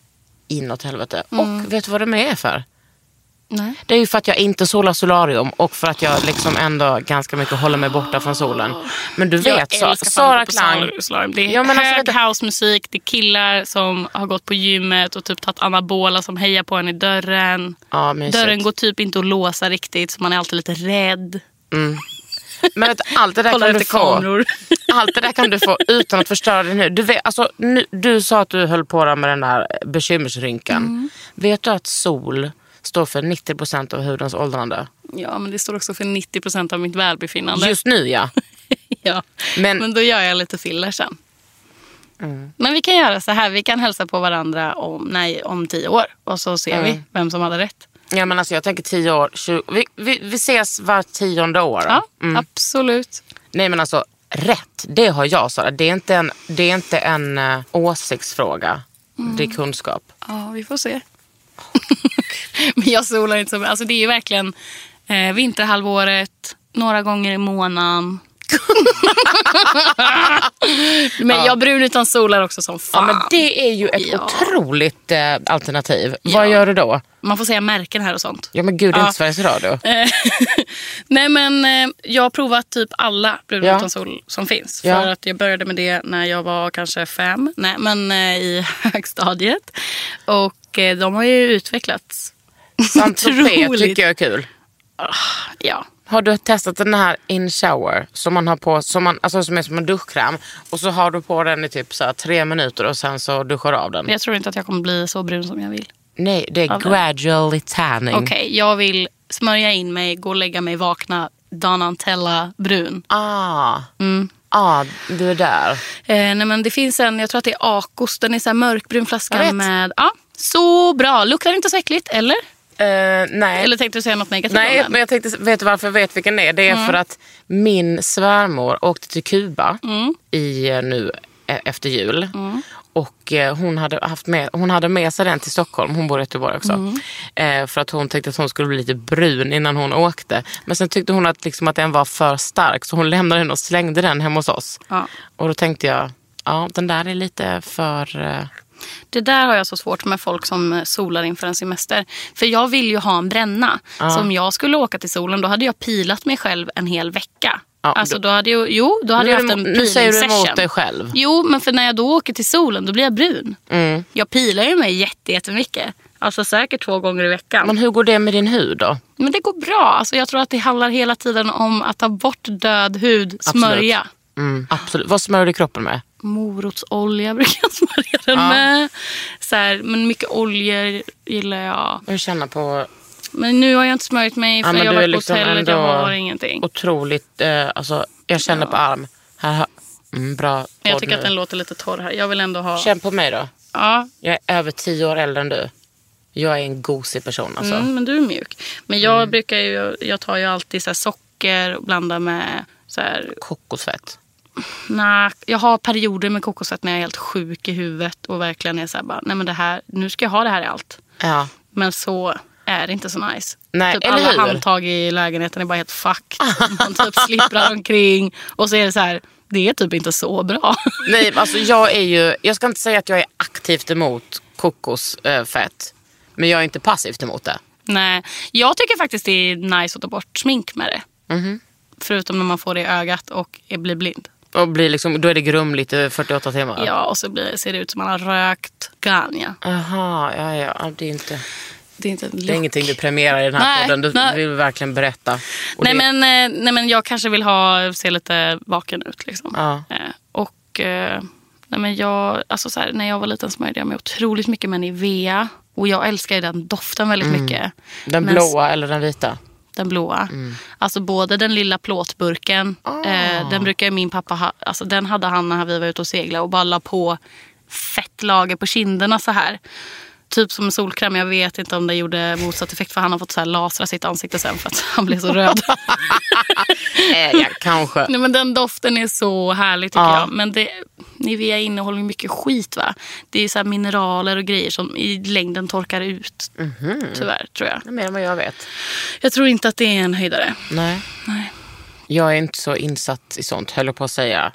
[SPEAKER 1] inåt helvete.
[SPEAKER 4] Mm.
[SPEAKER 1] Och vet du vad det med är för?
[SPEAKER 4] Nej.
[SPEAKER 1] Det är ju för att jag inte solar solarium och för att jag liksom ändå ganska mycket håller mig borta från solen. Men du
[SPEAKER 4] Jag
[SPEAKER 1] vet, Sa-
[SPEAKER 4] älskar fan
[SPEAKER 1] Sara
[SPEAKER 4] att gå på
[SPEAKER 1] Klang.
[SPEAKER 4] Sal- Slalom. Det är
[SPEAKER 1] Ja, men alltså,
[SPEAKER 4] hög
[SPEAKER 1] vet du-
[SPEAKER 4] housemusik, det är killar som har gått på gymmet och typ tagit anabola som hejar på en i dörren.
[SPEAKER 1] Ja, mysigt.
[SPEAKER 4] Dörren går typ inte att låsa riktigt så man är alltid lite rädd.
[SPEAKER 1] Men vet, du, allt det där
[SPEAKER 4] Kollar
[SPEAKER 1] kan du
[SPEAKER 4] efter
[SPEAKER 1] få.
[SPEAKER 4] kameror.
[SPEAKER 1] Allt det där kan du få utan att förstöra din hud. Du, vet, alltså, nu, du sa att du höll på där med den där bekymmersrynkan.
[SPEAKER 4] Mm.
[SPEAKER 1] Vet du att sol står för 90% av hudens åldrande?
[SPEAKER 4] Ja, men det står också för 90 av mitt välbefinnande.
[SPEAKER 1] Just nu ja.
[SPEAKER 4] Ja. Men,
[SPEAKER 1] Men- Mm.
[SPEAKER 4] då gör jag lite filler sen. Men vi kan göra så här, vi kan hälsa på varandra om, nej, om tio år och så ser
[SPEAKER 1] Mm.
[SPEAKER 4] vi vem som hade rätt.
[SPEAKER 1] ja men alltså, jag tänker 10 år, 20, vi, vi, vi ses var tionde år.
[SPEAKER 4] Ja,
[SPEAKER 1] Mm.
[SPEAKER 4] absolut.
[SPEAKER 1] Nej men alltså rätt, det har jag Sara. Det är inte en, det är inte en eh, åsiktsfråga.
[SPEAKER 4] Mm.
[SPEAKER 1] Det är kunskap.
[SPEAKER 4] Ja, vi får se. Men jag solar inte så mycket. Alltså, det är ju verkligen eh, vinterhalvåret, några gånger i månaden. men jag brun utan solar också som
[SPEAKER 1] Ja,
[SPEAKER 4] fan.
[SPEAKER 1] men det är ju ett
[SPEAKER 4] Ja.
[SPEAKER 1] otroligt eh, alternativ.
[SPEAKER 4] Ja.
[SPEAKER 1] Vad gör du då?
[SPEAKER 4] Man får säga märken här och sånt.
[SPEAKER 1] Ja men gud, det är
[SPEAKER 4] Ja.
[SPEAKER 1] inte Sveriges Radio.
[SPEAKER 4] Eh, Nej men eh, jag har provat typ alla brun
[SPEAKER 1] Ja.
[SPEAKER 4] utan sol som finns. För
[SPEAKER 1] Ja.
[SPEAKER 4] att jag började med det när jag var kanske fem. Nej men eh, i högstadiet. Och eh, de har ju utvecklats.
[SPEAKER 1] Saint Tropez
[SPEAKER 4] Otroligt.
[SPEAKER 1] tycker jag är kul.
[SPEAKER 4] Ja.
[SPEAKER 1] Har du testat den här in shower som man har på, som, man, alltså som är som en duschkräm och så har du på den i typ så här tre minuter och sen så duschar du av den?
[SPEAKER 4] Men jag tror inte att jag kommer bli så brun som jag vill.
[SPEAKER 1] Nej, det är
[SPEAKER 4] Av den.
[SPEAKER 1] gradually tanning.
[SPEAKER 4] Okej, jag vill smörja in mig, gå och lägga mig, vakna Danantella brun.
[SPEAKER 1] Ah.
[SPEAKER 4] Mm.
[SPEAKER 1] ah, du är där.
[SPEAKER 4] Eh, nej men det finns en, jag tror att det är Akos, den är så här mörkbrun
[SPEAKER 1] Jag
[SPEAKER 4] flaska
[SPEAKER 1] vet.
[SPEAKER 4] med... Ja, så bra! Luktar inte så äckligt, eller?
[SPEAKER 1] Eh, nej.
[SPEAKER 4] Eller tänkte du säga något negativt om
[SPEAKER 1] Nej,
[SPEAKER 4] den? Mm.
[SPEAKER 1] men jag tänkte, vet du varför jag vet vilken det är? Det är för att min svärmor åkte till Kuba
[SPEAKER 4] Mm.
[SPEAKER 1] i, eh, nu eh, efter jul. Och eh, hon hade, haft med, hon hade med sig den till Stockholm, hon bor i Göteborg också.
[SPEAKER 4] Mm.
[SPEAKER 1] Eh, för att hon tänkte att hon skulle bli lite brun innan hon åkte. Men sen tyckte hon att, liksom, att den var för stark så hon lämnade den och slängde den hemma hos oss.
[SPEAKER 4] Ja.
[SPEAKER 1] Och då tänkte jag, ja den där är lite för... eh,
[SPEAKER 4] Det där har jag så svårt med folk som eh, solar inför en semester. För jag vill ju ha en bränna. Så om jag skulle åka till solen då hade jag pilat mig själv en hel vecka.
[SPEAKER 1] Ja,
[SPEAKER 4] alltså
[SPEAKER 1] då-
[SPEAKER 4] då hade jag, jo, då hade
[SPEAKER 1] Nu
[SPEAKER 4] jag
[SPEAKER 1] är du
[SPEAKER 4] haft en
[SPEAKER 1] emot- nu säger du emot
[SPEAKER 4] peeling-session.
[SPEAKER 1] dig själv. Mm.
[SPEAKER 4] Jo, men för när jag då åker till solen då blir jag brun. Jag pilar ju mig jätte, jättemycket. Alltså säkert två gånger i veckan.
[SPEAKER 1] Men hur går det med din hud då?
[SPEAKER 4] Men det går bra. Alltså, jag tror att det handlar hela tiden om att ta bort död hud, smörja.
[SPEAKER 1] Mm, absolut. Vad smörjer du kroppen med?
[SPEAKER 4] Morotsolja brukar jag smörja den med. Så här, men mycket oljor gillar jag.
[SPEAKER 1] Jag känner på
[SPEAKER 4] Men nu har jag inte smörjt mig
[SPEAKER 1] Ja,
[SPEAKER 4] för
[SPEAKER 1] men
[SPEAKER 4] jag
[SPEAKER 1] du
[SPEAKER 4] har
[SPEAKER 1] är
[SPEAKER 4] varit
[SPEAKER 1] liksom
[SPEAKER 4] på hotellet. Jag
[SPEAKER 1] ändå
[SPEAKER 4] har ingenting.
[SPEAKER 1] otroligt... Eh, alltså, jag känner på arm. Här, har- mm, bra
[SPEAKER 4] Men jag
[SPEAKER 1] podd
[SPEAKER 4] tycker
[SPEAKER 1] nu.
[SPEAKER 4] att den låter lite torr här. Jag vill ändå ha...
[SPEAKER 1] Känn på mig då.
[SPEAKER 4] Ja, mm,
[SPEAKER 1] Jag är över tio år äldre än du. Jag är en gosig person alltså. Mm.
[SPEAKER 4] mm, men du är mjuk. Men jag brukar ju... Jag tar ju alltid så här socker och blandar med så här...
[SPEAKER 1] Kokosfett.
[SPEAKER 4] Nej, jag har perioder med kokosfett när jag är helt sjuk i huvudet och verkligen är så här bara, nej men det här, nu ska jag ha det här i allt.
[SPEAKER 1] Ja.
[SPEAKER 4] Men så är inte så nice.
[SPEAKER 1] Nej,
[SPEAKER 4] typ
[SPEAKER 1] eller
[SPEAKER 4] alla
[SPEAKER 1] hur?
[SPEAKER 4] handtag i lägenheten är bara helt fucked. Man typ slipprar omkring och så är det så här, det är typ inte så bra.
[SPEAKER 1] Nej, alltså jag är ju, jag ska inte säga att jag är aktivt emot kokosfett. Men jag är inte passivt emot det.
[SPEAKER 4] Nej, jag tycker faktiskt det är nice att ta bort smink med det.
[SPEAKER 1] Mhm.
[SPEAKER 4] Förutom när man får det i ögat och är- blir blind.
[SPEAKER 1] Och blir liksom, då är det grumligt i 48 timmar.
[SPEAKER 4] Ja, och så blir, ser det ut som man har rökt ganja.
[SPEAKER 1] Aha, ja, ja, ja, det är inte...
[SPEAKER 4] Det är inte en look.
[SPEAKER 1] Det är ingenting du premierar i den här
[SPEAKER 4] Nej,
[SPEAKER 1] podden. Du
[SPEAKER 4] nej.
[SPEAKER 1] vill verkligen berätta. Och
[SPEAKER 4] Nej
[SPEAKER 1] det-
[SPEAKER 4] men, eh, nej men jag kanske vill ha, se lite vaken ut. Liksom.
[SPEAKER 1] Ja.
[SPEAKER 4] Eh, Och eh, nej men jag, alltså så här, när jag var liten smörjde jag mig otroligt mycket med Nivea. Och jag älskar ju den doften väldigt mycket.
[SPEAKER 1] Mm. Den
[SPEAKER 4] Men-
[SPEAKER 1] blåa Mm. eller den vita?
[SPEAKER 4] Den blåa. Alltså både den lilla plåtburken.
[SPEAKER 1] Ah.
[SPEAKER 4] Eh, den brukar ju min pappa ha. Alltså den hade han när vi var ute och segla och bara la på fett lager på kinderna så här. Typ som en solkräm. Jag vet inte om det gjorde motsatt effekt för han har fått så här lasra sitt ansikte sen för att han blev så röd.
[SPEAKER 1] Eh, ja, kanske.
[SPEAKER 4] Nej, men den doften är så härlig tycker
[SPEAKER 1] Ja.
[SPEAKER 4] jag. Men det, Nivea innehåller ju mycket skit va? Det är så här mineraler och grejer som i längden torkar ut.
[SPEAKER 1] Mhm.
[SPEAKER 4] Tyvärr tror jag.
[SPEAKER 1] Mer än vad jag vet.
[SPEAKER 4] Jag tror inte att det är en höjdare.
[SPEAKER 1] Nej. Jag är inte så insatt i sånt, höll jag på att säga.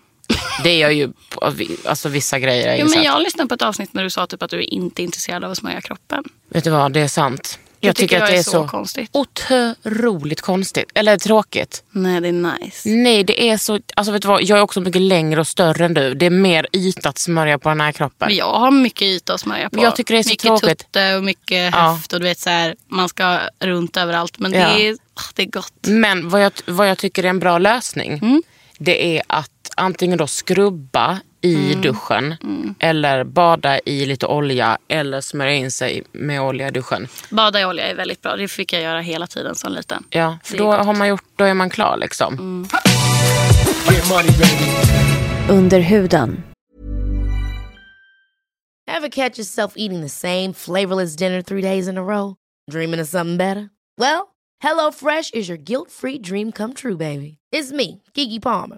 [SPEAKER 1] Det är jag ju, på- alltså vissa grejer är jag
[SPEAKER 4] Jo,
[SPEAKER 1] insatt.
[SPEAKER 4] men jag lyssnade på ett avsnitt när du sa typ att du inte är intresserad av att smörja kroppen.
[SPEAKER 1] Vet du vad, det är sant. Jag,
[SPEAKER 4] tycker jag
[SPEAKER 1] det
[SPEAKER 4] är
[SPEAKER 1] är
[SPEAKER 4] så
[SPEAKER 1] så
[SPEAKER 4] konstigt.
[SPEAKER 1] otroligt konstigt. Eller tråkigt.
[SPEAKER 4] Nej, det är nice.
[SPEAKER 1] Nej, det är så... Alltså vet du vad, jag är också mycket längre och större än du. Det är mer yta att smörja på den här kroppen.
[SPEAKER 4] Men jag har mycket yta att smörja på.
[SPEAKER 1] Jag tycker det är så
[SPEAKER 4] mycket
[SPEAKER 1] tråkigt.
[SPEAKER 4] tutte och mycket
[SPEAKER 1] Ja.
[SPEAKER 4] höft. Och du vet, så här, man ska runt överallt. Men
[SPEAKER 1] Ja.
[SPEAKER 4] det, är, ah, det är gott.
[SPEAKER 1] Men vad jag, vad jag tycker är en bra lösning,
[SPEAKER 4] Mm.
[SPEAKER 1] det är att antingen då skrubba i
[SPEAKER 4] Mm.
[SPEAKER 1] duschen eller bada i lite olja eller smörja in sig med olja i duschen.
[SPEAKER 4] Bada i olja är väldigt bra. Det fick jag göra hela tiden som liten.
[SPEAKER 1] Ja, för
[SPEAKER 4] Det är
[SPEAKER 1] då,
[SPEAKER 4] gott. Mm.
[SPEAKER 1] har man gjort, då är man klar liksom.
[SPEAKER 2] Under huden.
[SPEAKER 3] Ever catch yourself eating the same flavorless dinner three days in a row? Dreaming of something better? Well, HelloFresh is your guilt free dream come true, baby. It's me, Gigi Palmer.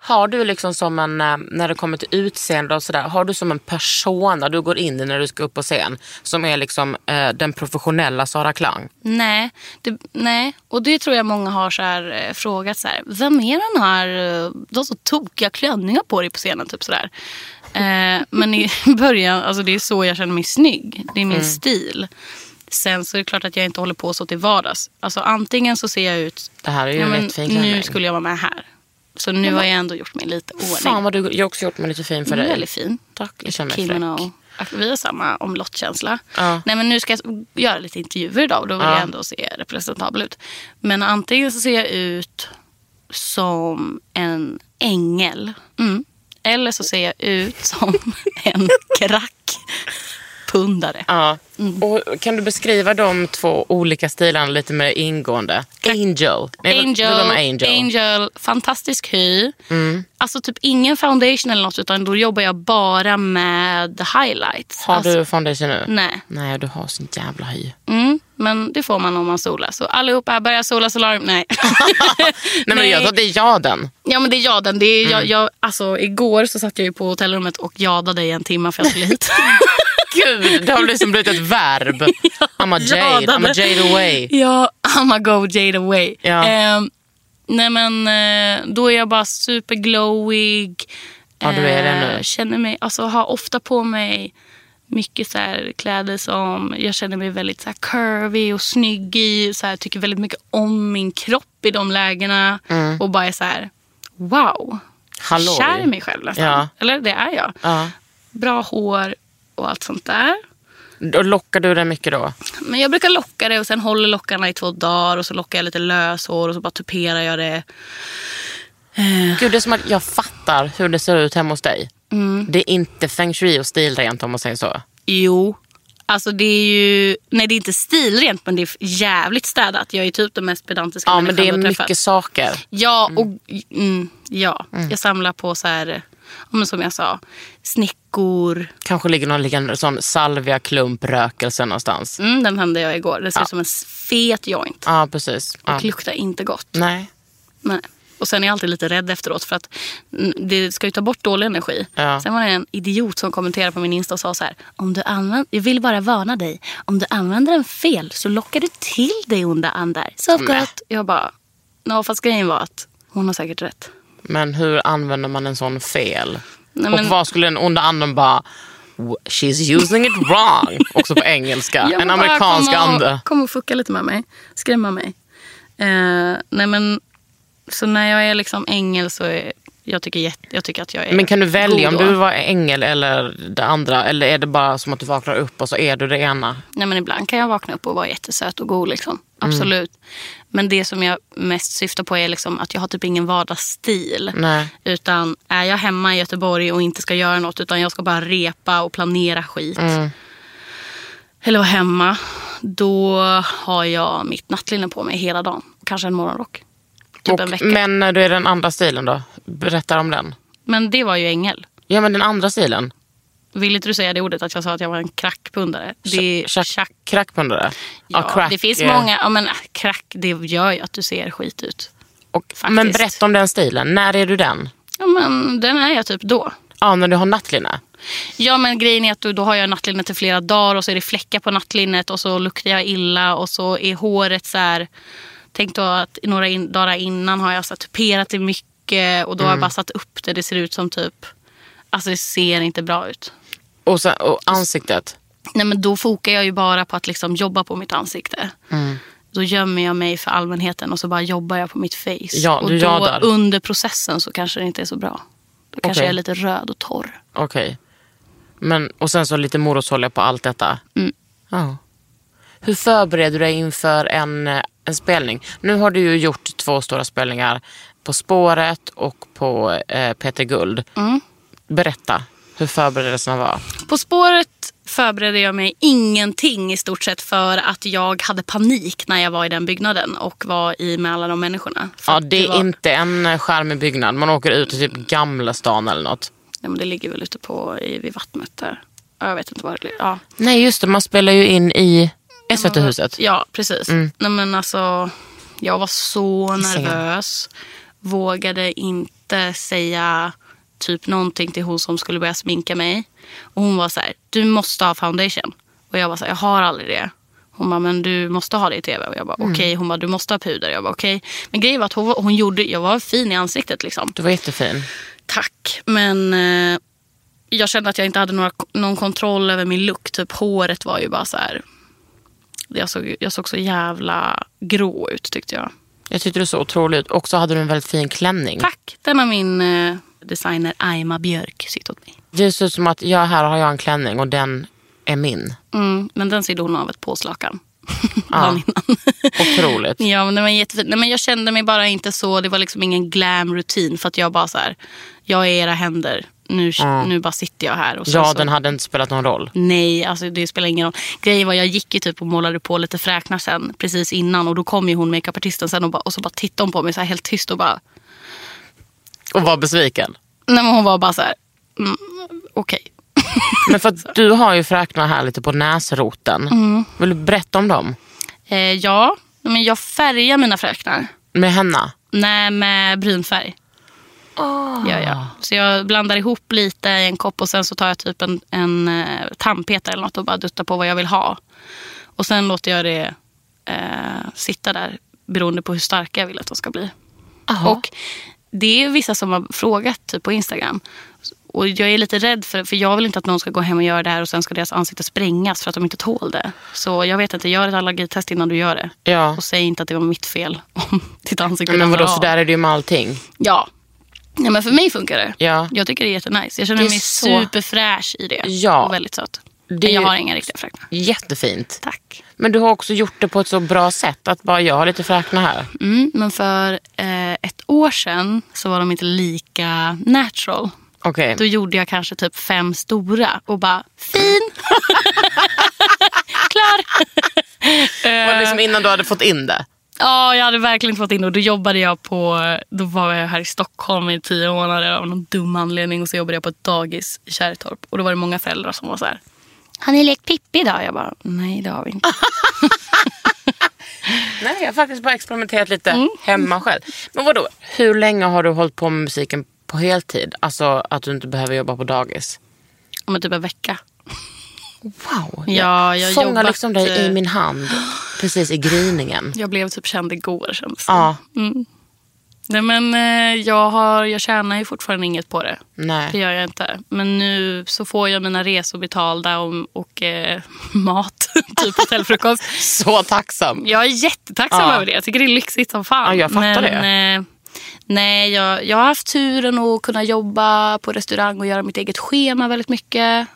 [SPEAKER 1] Har du liksom som en, eh, när det kommer till utseende och sådär, har du som en persona du går in i när du ska upp på scen som är liksom eh, den professionella Sara Klang?
[SPEAKER 4] Nej, det, nej, och det tror jag många har så här, eh, frågat. Så här, Vem är den här, eh, de som tokiga klänningar på dig på scenen? Typ så där. Eh, men i början, alltså det är så jag känner mig snygg. Det är min
[SPEAKER 1] Mm.
[SPEAKER 4] stil. Sen så är det klart att jag inte håller på så till vardags. Alltså antingen så ser jag ut,
[SPEAKER 1] Det här är ju
[SPEAKER 4] ja,
[SPEAKER 1] en
[SPEAKER 4] men,
[SPEAKER 1] jättefin
[SPEAKER 4] nu
[SPEAKER 1] klänning.
[SPEAKER 4] skulle jag vara med här. Så nu har jag ändå gjort mig lite ordning.
[SPEAKER 1] Fan vad du, jag har också gjort mig lite fin för
[SPEAKER 4] Du är
[SPEAKER 1] dig.
[SPEAKER 4] väldigt fin.
[SPEAKER 1] Tack, jag känner mig
[SPEAKER 4] Kimmen
[SPEAKER 1] fräck.
[SPEAKER 4] och vi har samma omlottkänsla.
[SPEAKER 1] Ja.
[SPEAKER 4] Nej, men nu ska jag göra lite intervjuer idag och då vill jag ändå se representabel ut. Men antingen så ser jag ut som en ängel. Mm. Eller så ser jag ut som en krackpundare.
[SPEAKER 1] Ja.
[SPEAKER 4] Mm.
[SPEAKER 1] Och kan du beskriva de två olika stilarna lite mer ingående? Angel. Nej,
[SPEAKER 4] Angel,
[SPEAKER 1] vad- vad de är angel. Mm.
[SPEAKER 4] Angel, fantastisk hy. Alltså typ ingen foundation eller något utan då jobbar jag bara med highlights.
[SPEAKER 1] Har
[SPEAKER 4] alltså,
[SPEAKER 1] du foundation nu?
[SPEAKER 4] Nej.
[SPEAKER 1] Nej, du har sån jävla hy.
[SPEAKER 4] Mm, men det får man om man solar. Så allihopa, börja sola solarium. Nej.
[SPEAKER 1] Nej, men jag tror att Mm. det är jag den.
[SPEAKER 4] Ja men det är jaden. Det är, jag, jag, alltså, igår så satt jag ju på hotellrummet och jadade i en timme för jag skulle hit.
[SPEAKER 1] Gud, det har liksom blivit ett verb. I'm a jade, I'm a
[SPEAKER 4] jadade.
[SPEAKER 1] jade away.
[SPEAKER 4] ja, I'm a go jade away.
[SPEAKER 1] Ja.
[SPEAKER 4] Ehm, nej men eh, då är jag bara superglowig.
[SPEAKER 1] Ja, du är det nu.
[SPEAKER 4] Eh, Känner mig, alltså har ofta på mig mycket så här kläder som jag känner mig väldigt så här curvy och snygg i. Så här, tycker väldigt mycket om min kropp i de lägena. Och bara är så här, wow.
[SPEAKER 1] Mm. Halloj.
[SPEAKER 4] kär i mig själv nästan.
[SPEAKER 1] Ja.
[SPEAKER 4] Eller det är jag.
[SPEAKER 1] Ja.
[SPEAKER 4] Bra hår och allt sånt där.
[SPEAKER 1] Då lockar du den mycket då?
[SPEAKER 4] Men jag brukar locka det och sen håller lockarna i två dagar och så lockar jag lite löshår och så bara tuperar jag det.
[SPEAKER 1] Gud, det är som att jag fattar hur det ser ut hemma hos dig.
[SPEAKER 4] Mm.
[SPEAKER 1] Det är inte feng shui och stilrent om man säger så.
[SPEAKER 4] Jo. Alltså det är ju, nej det är inte stilrent men det är jävligt städat. Jag är ju typ den mest pedantiska
[SPEAKER 1] Ja, men
[SPEAKER 4] människan
[SPEAKER 1] det är
[SPEAKER 4] du har träffat.
[SPEAKER 1] mycket saker.
[SPEAKER 4] Ja, och, mm, ja. jag samlar på så här, ja, men som jag sa, snickor.
[SPEAKER 1] Kanske ligger någon liten sån salvia klump rökelse någonstans.
[SPEAKER 4] Mm, den tände jag igår. Det ser ut som en fet joint.
[SPEAKER 1] Ja, precis. Ja.
[SPEAKER 4] Och luktar inte gott.
[SPEAKER 1] Nej.
[SPEAKER 4] Nej. Och sen är jag alltid lite rädd efteråt för att mm, det ska ju ta bort dålig energi.
[SPEAKER 1] Ja.
[SPEAKER 4] Sen var det en idiot som kommenterade på min Insta och sa så här. Om du använder, jag vill bara varna dig. Om du använder den fel så lockar du till dig onda andar.
[SPEAKER 1] Mm.
[SPEAKER 4] Sov gott. Jag bara, no, fast grejen var att hon har säkert rätt.
[SPEAKER 1] Men hur använder man en sån fel?
[SPEAKER 4] Nej,
[SPEAKER 1] Och
[SPEAKER 4] men-
[SPEAKER 1] vad skulle den onda anden bara... "W- She's using it wrong. Också på engelska.
[SPEAKER 4] Jag
[SPEAKER 1] en
[SPEAKER 4] vill bara
[SPEAKER 1] amerikansk
[SPEAKER 4] komma och-
[SPEAKER 1] ande.
[SPEAKER 4] Kom och fucka lite med mig. Skrämma mig. Eh, nej men, så när jag är liksom ängel så är jag tycker, jätte, jag tycker att jag är
[SPEAKER 1] Men kan du välja om
[SPEAKER 4] god då.
[SPEAKER 1] du vill vara ängel eller det andra? Eller är det bara som att du vaknar upp och så är du det ena?
[SPEAKER 4] Nej, men ibland kan jag vakna upp och vara jättesöt och god.
[SPEAKER 1] Mm.
[SPEAKER 4] Liksom. Absolut. Men det som jag mest syftar på är liksom att jag har typ ingen vardagsstil.
[SPEAKER 1] Nej.
[SPEAKER 4] Utan är jag hemma i Göteborg och inte ska göra något utan jag ska bara repa och planera skit.
[SPEAKER 1] Mm.
[SPEAKER 4] Eller vara hemma. Då har jag mitt nattlinne på mig hela dagen. Kanske en morgonrock. Typ en
[SPEAKER 1] Och,
[SPEAKER 4] vecka. Men...
[SPEAKER 1] men när du är den andra stilen då? Berätta om den.
[SPEAKER 4] det var ju ängel.
[SPEAKER 1] Ja men den andra stilen.
[SPEAKER 4] Vill inte du säga det ordet att jag sa att jag var en krackpundare? Det är
[SPEAKER 1] Tja-
[SPEAKER 4] tjack.
[SPEAKER 1] Crackpundare?
[SPEAKER 4] Ja,
[SPEAKER 1] crack,
[SPEAKER 4] det finns
[SPEAKER 1] eh,
[SPEAKER 4] många. Ja, men, äh, crack, det gör ju att du ser skit ut.
[SPEAKER 1] Och,
[SPEAKER 4] faktiskt.
[SPEAKER 1] men berätta om den stilen. När är du den?
[SPEAKER 4] Ja, men den är jag typ då.
[SPEAKER 1] Ja, när du har nattlinne.
[SPEAKER 4] Ja, men grejen är att då, då har jag nattlinnet i flera dagar och så är det fläckar på nattlinnet och så luktar jag illa och så är håret så här. Tänk då att några in, dagar innan har jag så här, tuperat det mycket och
[SPEAKER 1] Mm.
[SPEAKER 4] då har jag bara satt upp det. Det ser ut som typ, alltså det ser inte bra ut.
[SPEAKER 1] Och, sen, och ansiktet.
[SPEAKER 4] Nej, men då fokar jag ju bara på att liksom jobba på mitt ansikte.
[SPEAKER 1] Mm.
[SPEAKER 4] Då gömmer jag mig för allmänheten och så bara jobbar jag på mitt face.
[SPEAKER 1] Ja,
[SPEAKER 4] och
[SPEAKER 1] du jadar.
[SPEAKER 4] då under processen så kanske det inte är så bra. Då kanske
[SPEAKER 1] Okej.
[SPEAKER 4] jag är lite röd och torr.
[SPEAKER 1] Okej. Men, och sen så lite morotsolja på allt detta. Ja. Hur förbereder du dig inför en, eh, en spelning? Nu har du ju gjort två stora spelningar. På spåret och på eh, Peter Guld. Berätta hur förberedelserna var.
[SPEAKER 4] På spåret förberedde jag mig ingenting i stort sett för att jag hade panik när jag var i den byggnaden och var i med alla de människorna. För
[SPEAKER 1] Ja,
[SPEAKER 4] att
[SPEAKER 1] det är
[SPEAKER 4] var,
[SPEAKER 1] inte en eh, charmig byggnad. Man åker ut till typ Gamla stan eller något.
[SPEAKER 4] Ja, men det ligger väl ute på, i, vid vattnet där. Ja, Jag vet inte var det ligger. Ja.
[SPEAKER 1] Nej, just det. Man spelar ju in i SVT-huset.
[SPEAKER 4] Ja, precis. Nej, men alltså, jag var så
[SPEAKER 1] Hissingen.
[SPEAKER 4] nervös. Vågade inte säga typ någonting till hon som skulle börja sminka mig. Och hon var så här, du måste ha foundation. Och jag var så här, jag har aldrig det. Hon bara, men du måste ha det i tv. Och jag bara, okej. Hon bara, du måste ha puder. Jag bara, okej. Men grejen var att hon, var- hon gjorde, jag var fin i ansiktet liksom.
[SPEAKER 1] Du var jättefin.
[SPEAKER 4] Tack, men eh, jag kände att jag inte hade några, någon kontroll över min look. Typ håret var ju bara så här. Jag såg, jag såg så jävla grå ut tyckte jag.
[SPEAKER 1] Jag tyckte du såg otrolig ut. Och så hade du en väldigt fin klänning.
[SPEAKER 4] Tack, den har min eh, designer Aima Björk sytt åt mig.
[SPEAKER 1] Det ser ut som att jag, här har jag en klänning och den är min.
[SPEAKER 4] Mm, men den sydde hon av ett påslakan.
[SPEAKER 1] Ah.
[SPEAKER 4] Dagen innan.
[SPEAKER 1] Otroligt.
[SPEAKER 4] Ja, men den var jättefin. Nej, men jag kände mig bara inte så. Det var liksom ingen glam-rutin. För att jag bara så här, jag är era händer. Nu, nu bara sitter jag här. Och sen
[SPEAKER 1] Ah. Ja,
[SPEAKER 4] så,
[SPEAKER 1] den hade inte spelat någon roll.
[SPEAKER 4] Nej, alltså det spelar ingen roll. Grejen var jag gick ju typ och målade på lite fräknar sen precis innan och då kom ju hon makeupartisten sen och, bara, och så bara tittade hon på mig så här helt tyst och bara...
[SPEAKER 1] Och var besviken.
[SPEAKER 4] Nej men hon var bara så här... Mm, Okej.
[SPEAKER 1] Men för att du har ju fräknar här lite på näsroten.
[SPEAKER 4] Mm.
[SPEAKER 1] Vill du berätta om dem?
[SPEAKER 4] Eh, ja, men jag färgar mina fräknar.
[SPEAKER 1] Med henna?
[SPEAKER 4] Nej, med brunfärg. Ja, ja. Så jag blandar ihop lite i en kopp och sen så tar jag typ en, en eh, tandpetare eller något och bara duttar på vad jag vill ha. Och sen låter jag det eh, sitta där beroende på hur starka jag vill att de ska bli. Och det är vissa som har frågat typ, på Instagram. Och jag är lite rädd för, för jag vill inte att någon ska gå hem och göra det här och sen ska deras ansikte sprängas för att de inte tål det. Så jag vet inte, gör ett allergitest innan du gör det.
[SPEAKER 1] Ja. Mm,
[SPEAKER 4] Och säg inte att det var mitt fel om ditt ansikte
[SPEAKER 1] Men
[SPEAKER 4] ramlar
[SPEAKER 1] vadå,
[SPEAKER 4] av.
[SPEAKER 1] så där är det ju med allting.
[SPEAKER 4] Ja. Ja, men för mig funkar det.
[SPEAKER 1] Ja.
[SPEAKER 4] Jag tycker det är jättenice. Jag känner
[SPEAKER 1] Det är
[SPEAKER 4] mig
[SPEAKER 1] så-
[SPEAKER 4] superfräsch i det.
[SPEAKER 1] Ja.
[SPEAKER 4] Och väldigt söt.
[SPEAKER 1] Det
[SPEAKER 4] Men
[SPEAKER 1] är
[SPEAKER 4] jag
[SPEAKER 1] ju-
[SPEAKER 4] har inga riktiga fräknar.
[SPEAKER 1] Jättefint.
[SPEAKER 4] Tack.
[SPEAKER 1] Men du har också gjort det på ett så bra sätt att bara jag har lite fräknar här.
[SPEAKER 4] Mm, men för eh, ett år sedan så var de inte lika natural.
[SPEAKER 1] Okej.
[SPEAKER 4] Då gjorde jag kanske typ fem stora och bara fin. Klar.
[SPEAKER 1] Var det liksom innan du hade fått in det?
[SPEAKER 4] Eh, Ja, jag hade verkligen inte fått in det. Och Då jobbade jag på, då var jag här i Stockholm i tio månader av någon dum anledning. Och så jobbade jag på ett dagis i Kärrtorp. Och då var det många föräldrar som var så här. Har ni lekt Pippi idag? Jag bara, nej det har vi inte.
[SPEAKER 1] Nej, jag har faktiskt bara experimenterat lite hemma själv. Men vadå, hur länge har du hållit på med musiken på heltid? Alltså att du inte behöver jobba på dagis.
[SPEAKER 4] Om en typ en vecka.
[SPEAKER 1] Wow,
[SPEAKER 4] Ja, jag har
[SPEAKER 1] fångar
[SPEAKER 4] jobbat,
[SPEAKER 1] liksom dig i
[SPEAKER 4] eh,
[SPEAKER 1] min hand precis i gryningen.
[SPEAKER 4] Jag blev typ känd igår kändes det
[SPEAKER 1] Ja,
[SPEAKER 4] Nej men eh, jag, har, jag tjänar ju fortfarande inget på det. Det
[SPEAKER 1] nej.
[SPEAKER 4] gör jag inte. Men nu så får jag mina resor betalda och, och eh, mat, typ hotellfrukost.
[SPEAKER 1] Så tacksam.
[SPEAKER 4] Jag är jättetacksam
[SPEAKER 1] Ja.
[SPEAKER 4] över det. Jag tycker det är lyxigt som fan.
[SPEAKER 1] Ja, jag fattar
[SPEAKER 4] men, Eh, nej, jag, jag har haft turen att kunna jobba på restaurang och göra mitt eget schema väldigt mycket.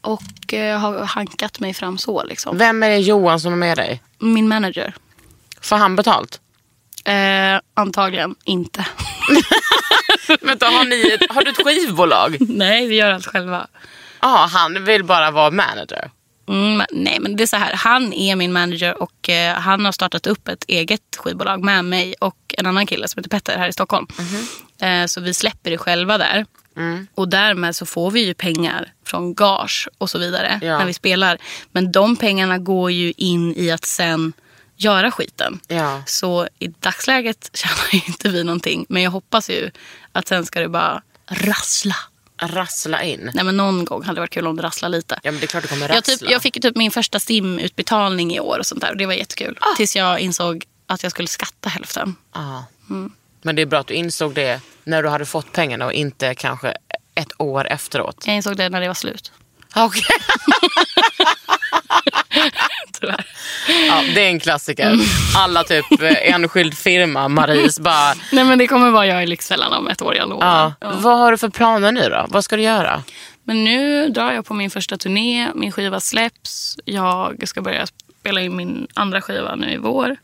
[SPEAKER 4] Och eh, har hankat mig fram så. Liksom.
[SPEAKER 1] Vem är det Johan som är med dig?
[SPEAKER 4] Min manager.
[SPEAKER 1] Får han betalt?
[SPEAKER 4] Eh, antagligen inte.
[SPEAKER 1] Vänta, har, ni ett, har du ett skivbolag? Ja,
[SPEAKER 4] nej, vi gör allt själva.
[SPEAKER 1] han vill bara vara manager.
[SPEAKER 4] Mm, men- nej, men det är så här. Han är min manager och eh, han har startat upp ett eget skivbolag med mig och en annan kille som heter Petter här i Stockholm.
[SPEAKER 1] Mhm.
[SPEAKER 4] Eh, så vi släpper det själva där.
[SPEAKER 1] Mm.
[SPEAKER 4] Och därmed så får vi ju pengar från gage och så vidare
[SPEAKER 1] Ja.
[SPEAKER 4] när vi spelar. Men de pengarna går ju in i att sen göra skiten.
[SPEAKER 1] Ja.
[SPEAKER 4] Så i dagsläget tjänar ju inte vi någonting. Men jag hoppas ju att sen ska det bara rassla.
[SPEAKER 1] Rassla in.
[SPEAKER 4] Nej men någon gång hade det varit kul om det rasslade lite.
[SPEAKER 1] Ja, men det är klart det kommer
[SPEAKER 4] Jag,
[SPEAKER 1] rassla.
[SPEAKER 4] typ, jag fick ju typ min första STIM-utbetalning i år och sånt där. Och det var jättekul.
[SPEAKER 1] Ah.
[SPEAKER 4] Tills jag insåg att jag skulle skatta hälften.
[SPEAKER 1] Ja. Men det är bra att du insåg det när du hade fått pengarna och inte kanske ett år efteråt.
[SPEAKER 4] Jag insåg det när det var slut.
[SPEAKER 1] Okej.
[SPEAKER 4] Tyvärr.
[SPEAKER 1] Ja, det är en klassiker. Alla typ eh, enskild firma, Maris bara...
[SPEAKER 4] Nej men det kommer vara jag i Lyxfällan om ett år, jag lovar.
[SPEAKER 1] Ja. Vad har du för planer nu då? Vad ska du göra?
[SPEAKER 4] Men nu drar jag på min första turné, min skiva släpps. Jag ska börja spela in min andra skiva nu i vår.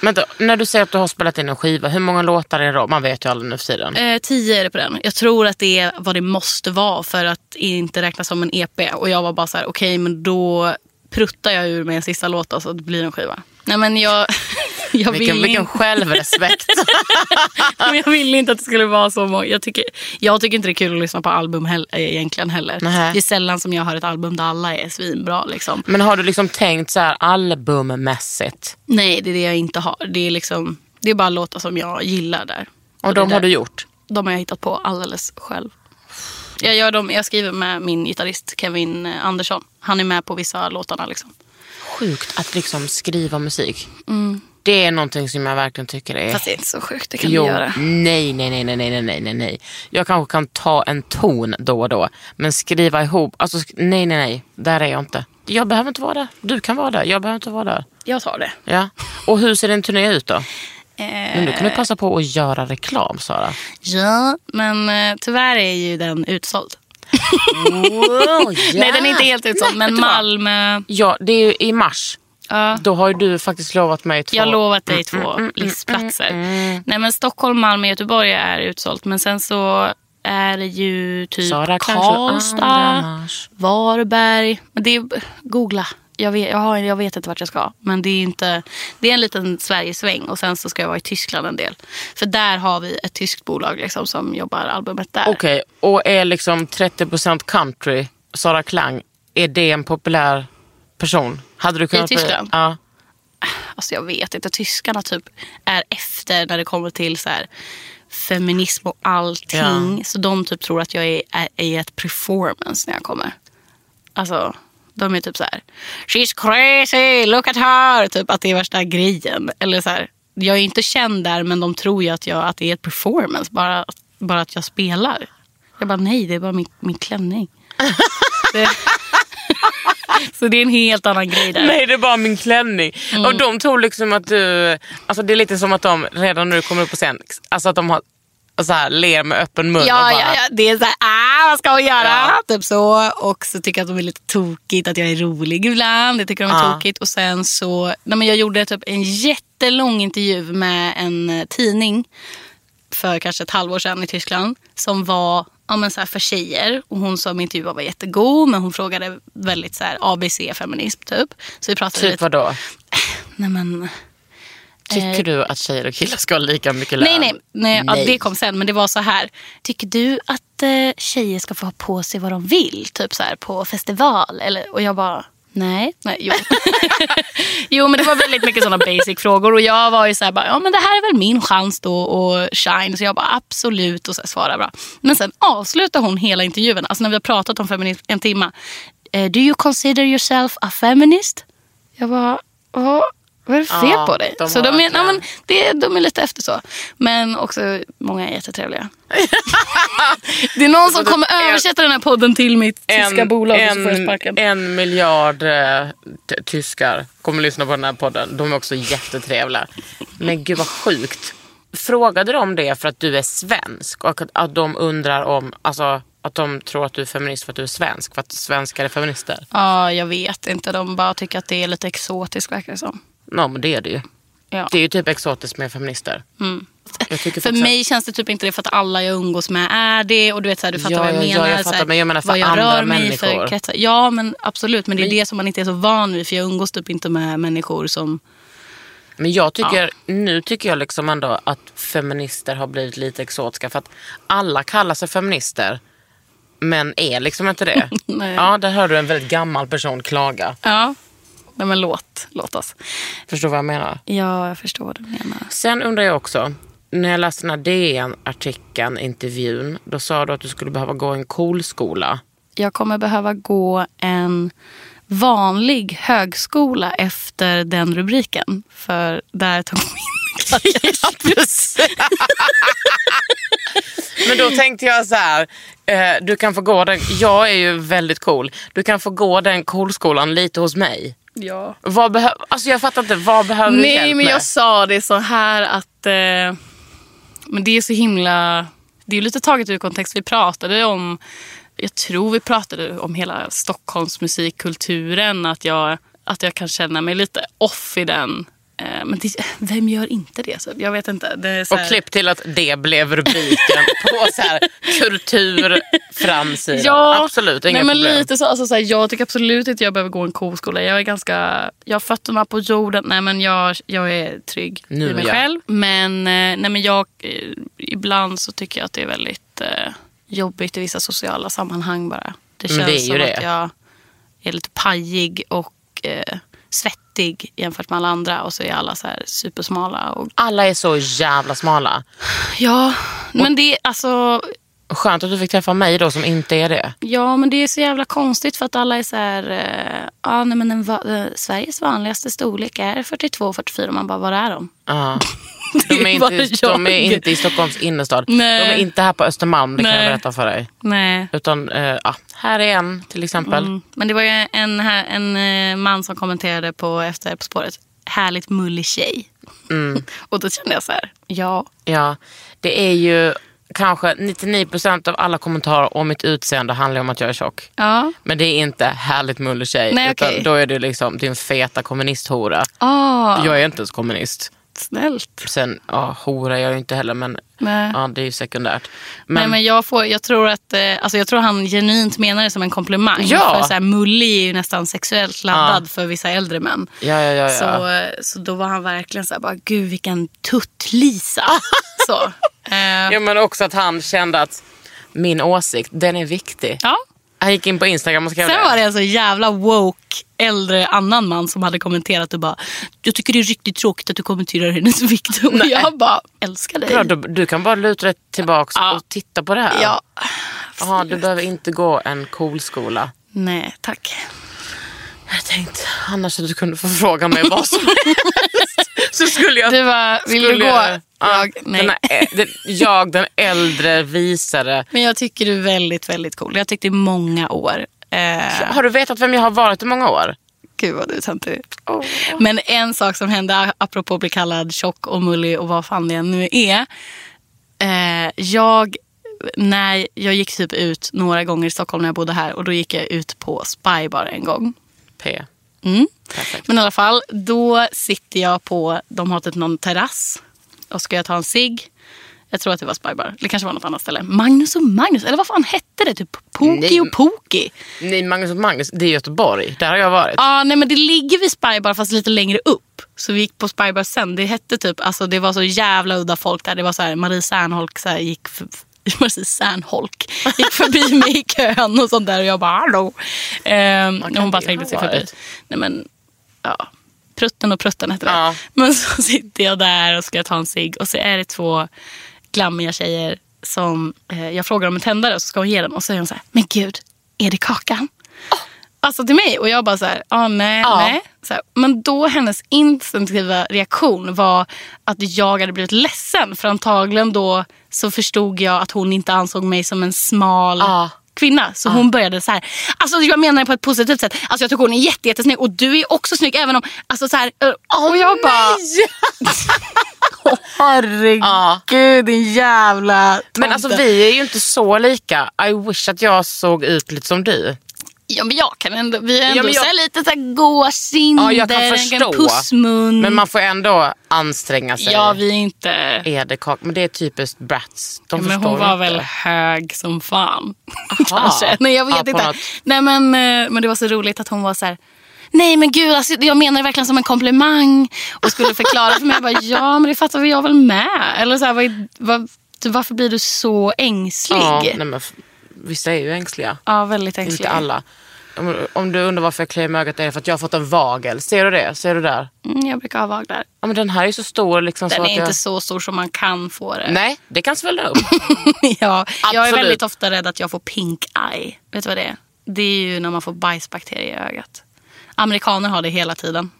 [SPEAKER 1] Vänta, när du säger att du har spelat in en skiva, hur många låtar är det då? Man vet ju aldrig nu för tiden.
[SPEAKER 4] Eh, tio är det på den. Jag tror att det är vad det måste vara för att inte räknas som en EP. Och jag var bara så här, okej men då pruttar jag ur mig en sista låt då, så att det blir en skiva. Nej men jag, jag,
[SPEAKER 1] Vilken,
[SPEAKER 4] vill
[SPEAKER 1] vilken
[SPEAKER 4] inte,
[SPEAKER 1] självrespekt.
[SPEAKER 4] men jag vill inte att det skulle vara så många. Jag tycker, jag tycker inte det är kul att lyssna på album hell, eh, egentligen heller.
[SPEAKER 1] Nähä.
[SPEAKER 4] Det är sällan som jag har ett album där alla är svinbra liksom.
[SPEAKER 1] Men har du liksom tänkt så här albummässigt?
[SPEAKER 4] Nej det är det jag inte har. Det är, liksom, det är bara låtar som jag gillar där.
[SPEAKER 1] Och
[SPEAKER 4] det
[SPEAKER 1] de
[SPEAKER 4] där-
[SPEAKER 1] har du gjort?
[SPEAKER 4] De har jag hittat på alldeles själv. Jag, gör dem, jag skriver med min gitarrist Kevin eh, Andersson. Han är med på vissa låtarna. Liksom.
[SPEAKER 1] Sjukt att liksom skriva musik. Det är någonting som jag verkligen tycker är
[SPEAKER 4] Mm. Fast det är inte så sjukt, det kan
[SPEAKER 1] Jo,
[SPEAKER 4] vi göra.
[SPEAKER 1] Nej, nej, nej, nej, nej, nej, nej, nej, nej. Jag kanske kan ta en ton då och då, men skriva ihop, alltså sk- nej, nej, nej, där är jag inte. Jag behöver inte vara där. Du kan vara där, jag behöver inte vara där.
[SPEAKER 4] Jag tar det.
[SPEAKER 1] Ja. Och hur ser din turné ut då?
[SPEAKER 4] Eh,
[SPEAKER 1] Men du kan du passa på att göra reklam, Sara.
[SPEAKER 4] Ja, men eh, tyvärr är ju den utsåld. Nej, den är inte helt utsåld, men Malmö.
[SPEAKER 1] Ja, det är ju i mars.
[SPEAKER 4] Ja.
[SPEAKER 1] Då har ju du faktiskt lovat mig två...
[SPEAKER 4] Jag har lovat dig två listplatser. Nej, men Stockholm, Malmö, Göteborg är utsålt. Men sen så är det ju typ
[SPEAKER 1] Sara kanske andra
[SPEAKER 4] Karlstad,
[SPEAKER 1] mars.
[SPEAKER 4] Varberg. Men det är, googla. Jag vet, jag, har, jag vet inte vart jag ska. Men det är, inte, det är en liten Sverigesväng. Och sen så ska jag vara i Tyskland en del. För där har vi ett tyskt bolag liksom, som jobbar albumet där.
[SPEAKER 1] Okej, och är liksom 30% country, Sara Klang, är det en populär person? Hade du kunnat bli-
[SPEAKER 4] Tyskland?
[SPEAKER 1] Ja.
[SPEAKER 4] Alltså jag vet inte. Tyskarna typ är efter när det kommer till så här feminism och allting. Så de typ tror att jag är, är i ett performance när jag kommer. Alltså, de är typ så här. She's crazy, look at her. Typ att det är värsta grejen. Eller så här, jag är inte känd där men de tror ju att, jag, att det är ett performance. Bara, bara att jag spelar. Jag bara nej, det är bara min, min klänning. det, så det är en helt annan grej där. Mm.
[SPEAKER 1] Nej, det är bara min klänning. Och de tror liksom att du... Alltså det är lite som att de redan nu kommer upp på scen, alltså att de har så här, ler med öppen mun och
[SPEAKER 4] Ja,
[SPEAKER 1] bara,
[SPEAKER 4] ja, ja, det är så här, ah, vad ska hon göra? Typ så. Och så tycker jag att de är lite tokigt, att jag är rolig ibland. Det tycker de är
[SPEAKER 1] Ja.
[SPEAKER 4] tokigt. Och sen så, nej, men jag gjorde typ en jättelång intervju med en eh, tidning för kanske ett halvår sedan i Tyskland som var ja, men så här för tjejer. Och hon som intervjuade var jättegod men hon frågade väldigt så här ABC-feminism typ. Så vi pratade
[SPEAKER 1] Typ
[SPEAKER 4] lite.
[SPEAKER 1] vadå?
[SPEAKER 4] Nej, men,
[SPEAKER 1] Tycker du att tjejer och killar ska ha lika mycket lön?
[SPEAKER 4] Nej, nej. nej, Ja,
[SPEAKER 1] Nej.
[SPEAKER 4] det kom sen. Men det var så här. Tycker du att eh, tjejer ska få ha på sig vad de vill? Typ så här på festival? Eller, och jag bara, nej. nej jo. jo, men det var väldigt mycket sådana basic frågor. Och jag var ju så här, bara, ja men det här är väl min chans då och shine. Så jag bara absolut och så här, svarade bra. Men sen avslutar hon hela intervjun. Alltså när vi har pratat om feminism en timma. Eh, do you consider yourself a feminist? Jag bara, vad, vad är det fel
[SPEAKER 1] Ja,
[SPEAKER 4] på dig?
[SPEAKER 1] de
[SPEAKER 4] så
[SPEAKER 1] har
[SPEAKER 4] de är, nej,
[SPEAKER 1] verkligen-
[SPEAKER 4] men det, de är lite efter så. Men också många är jättetrevliga. det är någon som kommer översätta den här podden till mitt tyska bolag och så får jag sparken.
[SPEAKER 1] en, en miljard eh, t- tyskar kommer lyssna på den här podden. De är också jättetrevliga. Men gud vad sjukt. Frågade de det för att du är svensk och att, att de undrar om, alltså att de tror att du är feminist för att du är svensk, för att svenskar är feminister?
[SPEAKER 4] Ja, jag vet inte. De bara tycker att det är lite exotiskt verkar det som.
[SPEAKER 1] Ja men det är det ju.
[SPEAKER 4] Ja. Mm.
[SPEAKER 1] Det är ju typ exotiskt med feminister. Jag tycker
[SPEAKER 4] För
[SPEAKER 1] faktiskt-
[SPEAKER 4] mig känns det typ inte det för att alla jag umgås med är det. Och du vet så här, du fattar
[SPEAKER 1] Ja,
[SPEAKER 4] vad jag
[SPEAKER 1] ja, ja,
[SPEAKER 4] menar.
[SPEAKER 1] jag
[SPEAKER 4] så
[SPEAKER 1] fattar,
[SPEAKER 4] här,
[SPEAKER 1] men jag menar för
[SPEAKER 4] vad jag
[SPEAKER 1] andra
[SPEAKER 4] rör mig i
[SPEAKER 1] människor.
[SPEAKER 4] för kretsar. Ja men absolut. Men det är det som man inte är så van vid. För jag umgås typ inte med människor som...
[SPEAKER 1] Men jag tycker, nu tycker jag liksom ändå att feminister har blivit lite exotiska för att alla kallar sig feminister men är liksom inte det.
[SPEAKER 4] Nej.
[SPEAKER 1] ja, där hör du en väldigt gammal person klaga.
[SPEAKER 4] Ja. Nej men låt, låt oss.
[SPEAKER 1] Förstår vad jag menar?
[SPEAKER 4] Ja, jag förstår vad du menar.
[SPEAKER 1] Sen undrar jag också, när jag läste den här DN-artikeln, intervjun, då sa du att du skulle behöva gå en cool skola.
[SPEAKER 4] Jag kommer behöva gå en vanlig högskola efter den rubriken. För där tog min karriär slut.
[SPEAKER 1] Men då tänkte jag så här, eh, du kan få gå den, jag är ju väldigt cool, du kan få gå den cool-skolan lite hos mig.
[SPEAKER 4] Ja.
[SPEAKER 1] Vad behöv, alltså jag fattar inte, vad behöver du
[SPEAKER 4] Nej,
[SPEAKER 1] hjälp
[SPEAKER 4] men
[SPEAKER 1] med?
[SPEAKER 4] jag sa det så här att... Eh, men det är så himla... Det är lite taget ur kontext. Vi pratade om... Jag tror vi pratade om hela Stockholms musikkulturen. Att jag, att jag kan känna mig lite off i den. Eh, men det, vem gör inte det? Så jag vet inte. Det är så här,
[SPEAKER 1] Och klipp till att det blev rubriken på så här kulturframsidan. Absolut, inga
[SPEAKER 4] nej, men
[SPEAKER 1] problem.
[SPEAKER 4] Lite så, alltså, så här, jag tycker absolut inte jag behöver gå en koskola. Jag är ganska, jag har fötterna på jorden. Nej, men jag, jag är trygg
[SPEAKER 1] Nu,
[SPEAKER 4] i mig
[SPEAKER 1] ja.
[SPEAKER 4] själv. Men, eh, nej, men jag, eh, ibland så tycker jag att det är väldigt eh, jobbigt i vissa sociala sammanhang bara. Det
[SPEAKER 1] Men
[SPEAKER 4] känns
[SPEAKER 1] Mm, det är ju
[SPEAKER 4] som
[SPEAKER 1] det.
[SPEAKER 4] att jag är lite pajig och eh, svettig jämfört med alla andra. Och så är alla så här supersmala. Och,
[SPEAKER 1] Alla är så jävla smala.
[SPEAKER 4] ja, men det är alltså...
[SPEAKER 1] Skönt att du fick träffa mig då som inte är det.
[SPEAKER 4] Ja, men det är så jävla konstigt för att alla är så här... eh, ah, nej, men den va- eh, Sveriges vanligaste storlek är 42-44. Man bara, var är de?
[SPEAKER 1] Ja. De, är
[SPEAKER 4] bara
[SPEAKER 1] inte, de är
[SPEAKER 4] jag.
[SPEAKER 1] inte i Stockholms innerstad.
[SPEAKER 4] Nej.
[SPEAKER 1] De är inte här på Östermalm, det kan jag
[SPEAKER 4] Nej.
[SPEAKER 1] berätta för dig.
[SPEAKER 4] Nej.
[SPEAKER 1] Utan eh, ja, här är en till exempel.
[SPEAKER 4] Mm. Men det var ju en, här, en eh, man som kommenterade på efter På spåret. Härligt mullig tjej. Och då kände jag så här, ja.
[SPEAKER 1] Mm. Ja, det är ju kanske 99% av alla kommentarer om mitt utseende handlar om att jag är tjock.
[SPEAKER 4] Ja.
[SPEAKER 1] Men det är inte härligt mullig tjej.
[SPEAKER 4] Nej,
[SPEAKER 1] utan
[SPEAKER 4] okej.
[SPEAKER 1] Då är det liksom din feta kommunisthora.
[SPEAKER 4] Ah,
[SPEAKER 1] Jag är inte ens kommunist.
[SPEAKER 4] snällt.
[SPEAKER 1] Sen, ja, hora är jag ju inte heller men
[SPEAKER 4] Nej.
[SPEAKER 1] ja, det är ju sekundärt. Men,
[SPEAKER 4] Nej, men jag, får, jag, tror att, eh, alltså jag tror han genuint menar det som en komplimang.
[SPEAKER 1] Ja.
[SPEAKER 4] För så här, mullig är ju nästan sexuellt laddad för vissa äldre män.
[SPEAKER 1] ja, ja, ja, ja.
[SPEAKER 4] Så, eh, så då var han verkligen så här, bara, gud vilken tuttlisa. så. Eh,
[SPEAKER 1] ja, men också att han kände att min åsikt, den är viktig.
[SPEAKER 4] ja.
[SPEAKER 1] Han gick in på Instagram och skrev
[SPEAKER 4] Sen var det en så jävla woke äldre annan man som hade kommenterat och bara, jag tycker det är riktigt tråkigt att du kommenterar hennes vikt. Och jag bara, älskar dig.
[SPEAKER 1] Bra, du, du kan bara luta dig tillbaka
[SPEAKER 4] Ja.
[SPEAKER 1] och titta på det här.
[SPEAKER 4] Ja.
[SPEAKER 1] Jaha, du behöver inte gå en cool skola.
[SPEAKER 4] Nej, tack.
[SPEAKER 1] Jag tänkte annars att du kunde få fråga mig vad som helst. Så skulle jag...
[SPEAKER 4] Du bara, vill du
[SPEAKER 1] skulle
[SPEAKER 4] gå?
[SPEAKER 1] jag- Ja,
[SPEAKER 4] Jag, nej.
[SPEAKER 1] Den här, den, jag, den äldre, visare.
[SPEAKER 4] Men jag tycker du är väldigt, väldigt cool. Jag har tyckt det i många år. Eh,
[SPEAKER 1] Har du vetat vem jag har varit i många år?
[SPEAKER 4] Gud vad du är töntig. Men en sak som hände, apropå att bli kallad tjock och mullig och vad fan det nu är. Eh, jag, när jag gick typ ut några gånger i Stockholm när jag bodde här och då gick jag ut på Spybar en gång.
[SPEAKER 1] P.
[SPEAKER 4] Mm.
[SPEAKER 1] Perfekt.
[SPEAKER 4] Men i alla fall, då sitter jag på, de har typ någon terrass och ska jag ta en cigg. Jag tror att det var Spybar. Det kanske var något annat ställe. Magnus och Magnus, eller vad fan hette det? Typ Poki
[SPEAKER 1] Nej.
[SPEAKER 4] och Poki.
[SPEAKER 1] Nej, Magnus och Magnus, det är Göteborg. Där har jag varit.
[SPEAKER 4] Ja, nej men det ligger vid Spybar fast lite längre upp. Så vi gick på Spybar sen. Det hette typ, alltså det var så jävla udda folk där. Det var så här, Marie Serneholk så här, gick för, Marie Serneholk gick förbi mig i kön och sånt där och jag bara hallå. Ehm, och
[SPEAKER 1] kan
[SPEAKER 4] hon bara
[SPEAKER 1] det
[SPEAKER 4] trängde sig
[SPEAKER 1] ha
[SPEAKER 4] förbi.
[SPEAKER 1] varit?
[SPEAKER 4] Nej men, ja. Prutten och Prutten hette det.
[SPEAKER 1] Ja.
[SPEAKER 4] Men så sitter jag där och ska ta en cigg och så är det två glammiga tjejer som eh, jag frågar om en tändare och så ska hon ge den och så säger hon så här, men gud, är det kakan? Alltså till mig och jag bara så här, ah, nej,
[SPEAKER 1] Ja.
[SPEAKER 4] nej. Så här, men då hennes instinktiva reaktion var att jag hade blivit ledsen för antagligen då så förstod jag att hon inte ansåg mig som en smal
[SPEAKER 1] Ja.
[SPEAKER 4] kvinna. Så hon började så här, alltså jag menar det på ett positivt sätt. Alltså jag tycker hon är jätte, jättesnygg och du är också snygg även om, alltså så här, eh, och jag bara... Herregud,
[SPEAKER 1] Ja.
[SPEAKER 4] din jävla
[SPEAKER 1] Men alltså vi är ju inte så lika. I wish att jag såg ut lite som du.
[SPEAKER 4] Ja, men jag kan ändå, vi är ändå
[SPEAKER 1] Ja, men jag-
[SPEAKER 4] så här lite så här goa kinder,
[SPEAKER 1] Ja, jag kan
[SPEAKER 4] en
[SPEAKER 1] förstå.
[SPEAKER 4] pussmun.
[SPEAKER 1] Men man får ändå anstränga sig.
[SPEAKER 4] Ja, vi är inte...
[SPEAKER 1] Är det kak? Men det är typiskt brats. De
[SPEAKER 4] Men
[SPEAKER 1] förstår
[SPEAKER 4] hon var
[SPEAKER 1] inte.
[SPEAKER 4] väl hög som fan. Kanske. Nej, jag
[SPEAKER 1] Ja,
[SPEAKER 4] vet
[SPEAKER 1] på
[SPEAKER 4] inte.
[SPEAKER 1] något-
[SPEAKER 4] Nej, men, eh, men det var så roligt att hon var så här... Nej men gud, alltså, jag menar det verkligen som en komplimang. Och skulle förklara för mig. Jag bara, ja men det fattar väl jag väl med. Eller så här, vad, är- vad, du, varför blir du så ängslig?
[SPEAKER 1] Ja,
[SPEAKER 4] Ja,
[SPEAKER 1] nej, men f- vissa är ju ängsliga.
[SPEAKER 4] väldigt ängslig.
[SPEAKER 1] Inte alla. Om, om du undrar varför jag kliar mig i ögat är det för att jag har fått en vagel. Ser du det? Ser du där?
[SPEAKER 4] Mm, jag brukar ha vaglar.
[SPEAKER 1] Ja, men den här är ju så stor. Liksom,
[SPEAKER 4] Den
[SPEAKER 1] så
[SPEAKER 4] är
[SPEAKER 1] att
[SPEAKER 4] inte
[SPEAKER 1] jag...
[SPEAKER 4] så stor som man kan få det.
[SPEAKER 1] Nej, det kan svälla upp.
[SPEAKER 4] ja, jag är
[SPEAKER 1] Absolut.
[SPEAKER 4] väldigt ofta rädd att jag får pink eye. Vet du vad det är? Det är ju när man får bajsbakterier i ögat. Amerikaner har det hela tiden.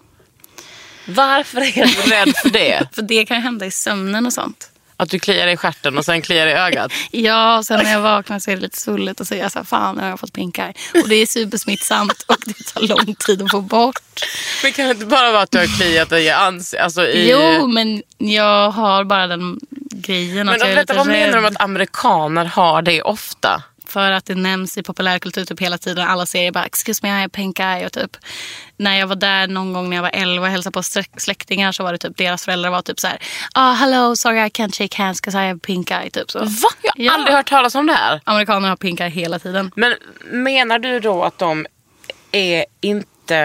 [SPEAKER 1] Varför är du rädd för det?
[SPEAKER 4] För det kan ju hända i sömnen och sånt.
[SPEAKER 1] Att du kliar dig i stjärten och sen kliar dig i ögat?
[SPEAKER 4] Ja, och sen när jag vaknar så är det lite svullet och så är jag så här, fan nu har jag fått pink eye. Och det är supersmittsamt och det tar lång tid att få bort.
[SPEAKER 1] Men kan det inte bara vara att du har kliat dig i ansiktet? Alltså i...
[SPEAKER 4] Jo, men jag har bara den grejen
[SPEAKER 1] men
[SPEAKER 4] att jag är
[SPEAKER 1] vänta,
[SPEAKER 4] lite
[SPEAKER 1] vad menar du
[SPEAKER 4] rädd.
[SPEAKER 1] med att amerikaner har det ofta?
[SPEAKER 4] För att det nämns i populärkultur typ hela tiden. Alla serier bara “excuse me, I have pink eye” och typ. När jag var där någon gång när jag var 11 och hälsade på strä- släktingar så var det typ deras föräldrar var typ så här “ah, hello, sorry I can't shake hands 'cause I have pink eye” typ så.
[SPEAKER 1] Va? Jag har
[SPEAKER 4] Ja.
[SPEAKER 1] aldrig hört talas om det här.
[SPEAKER 4] Amerikaner har pink eye hela tiden.
[SPEAKER 1] Men menar du då att de är inte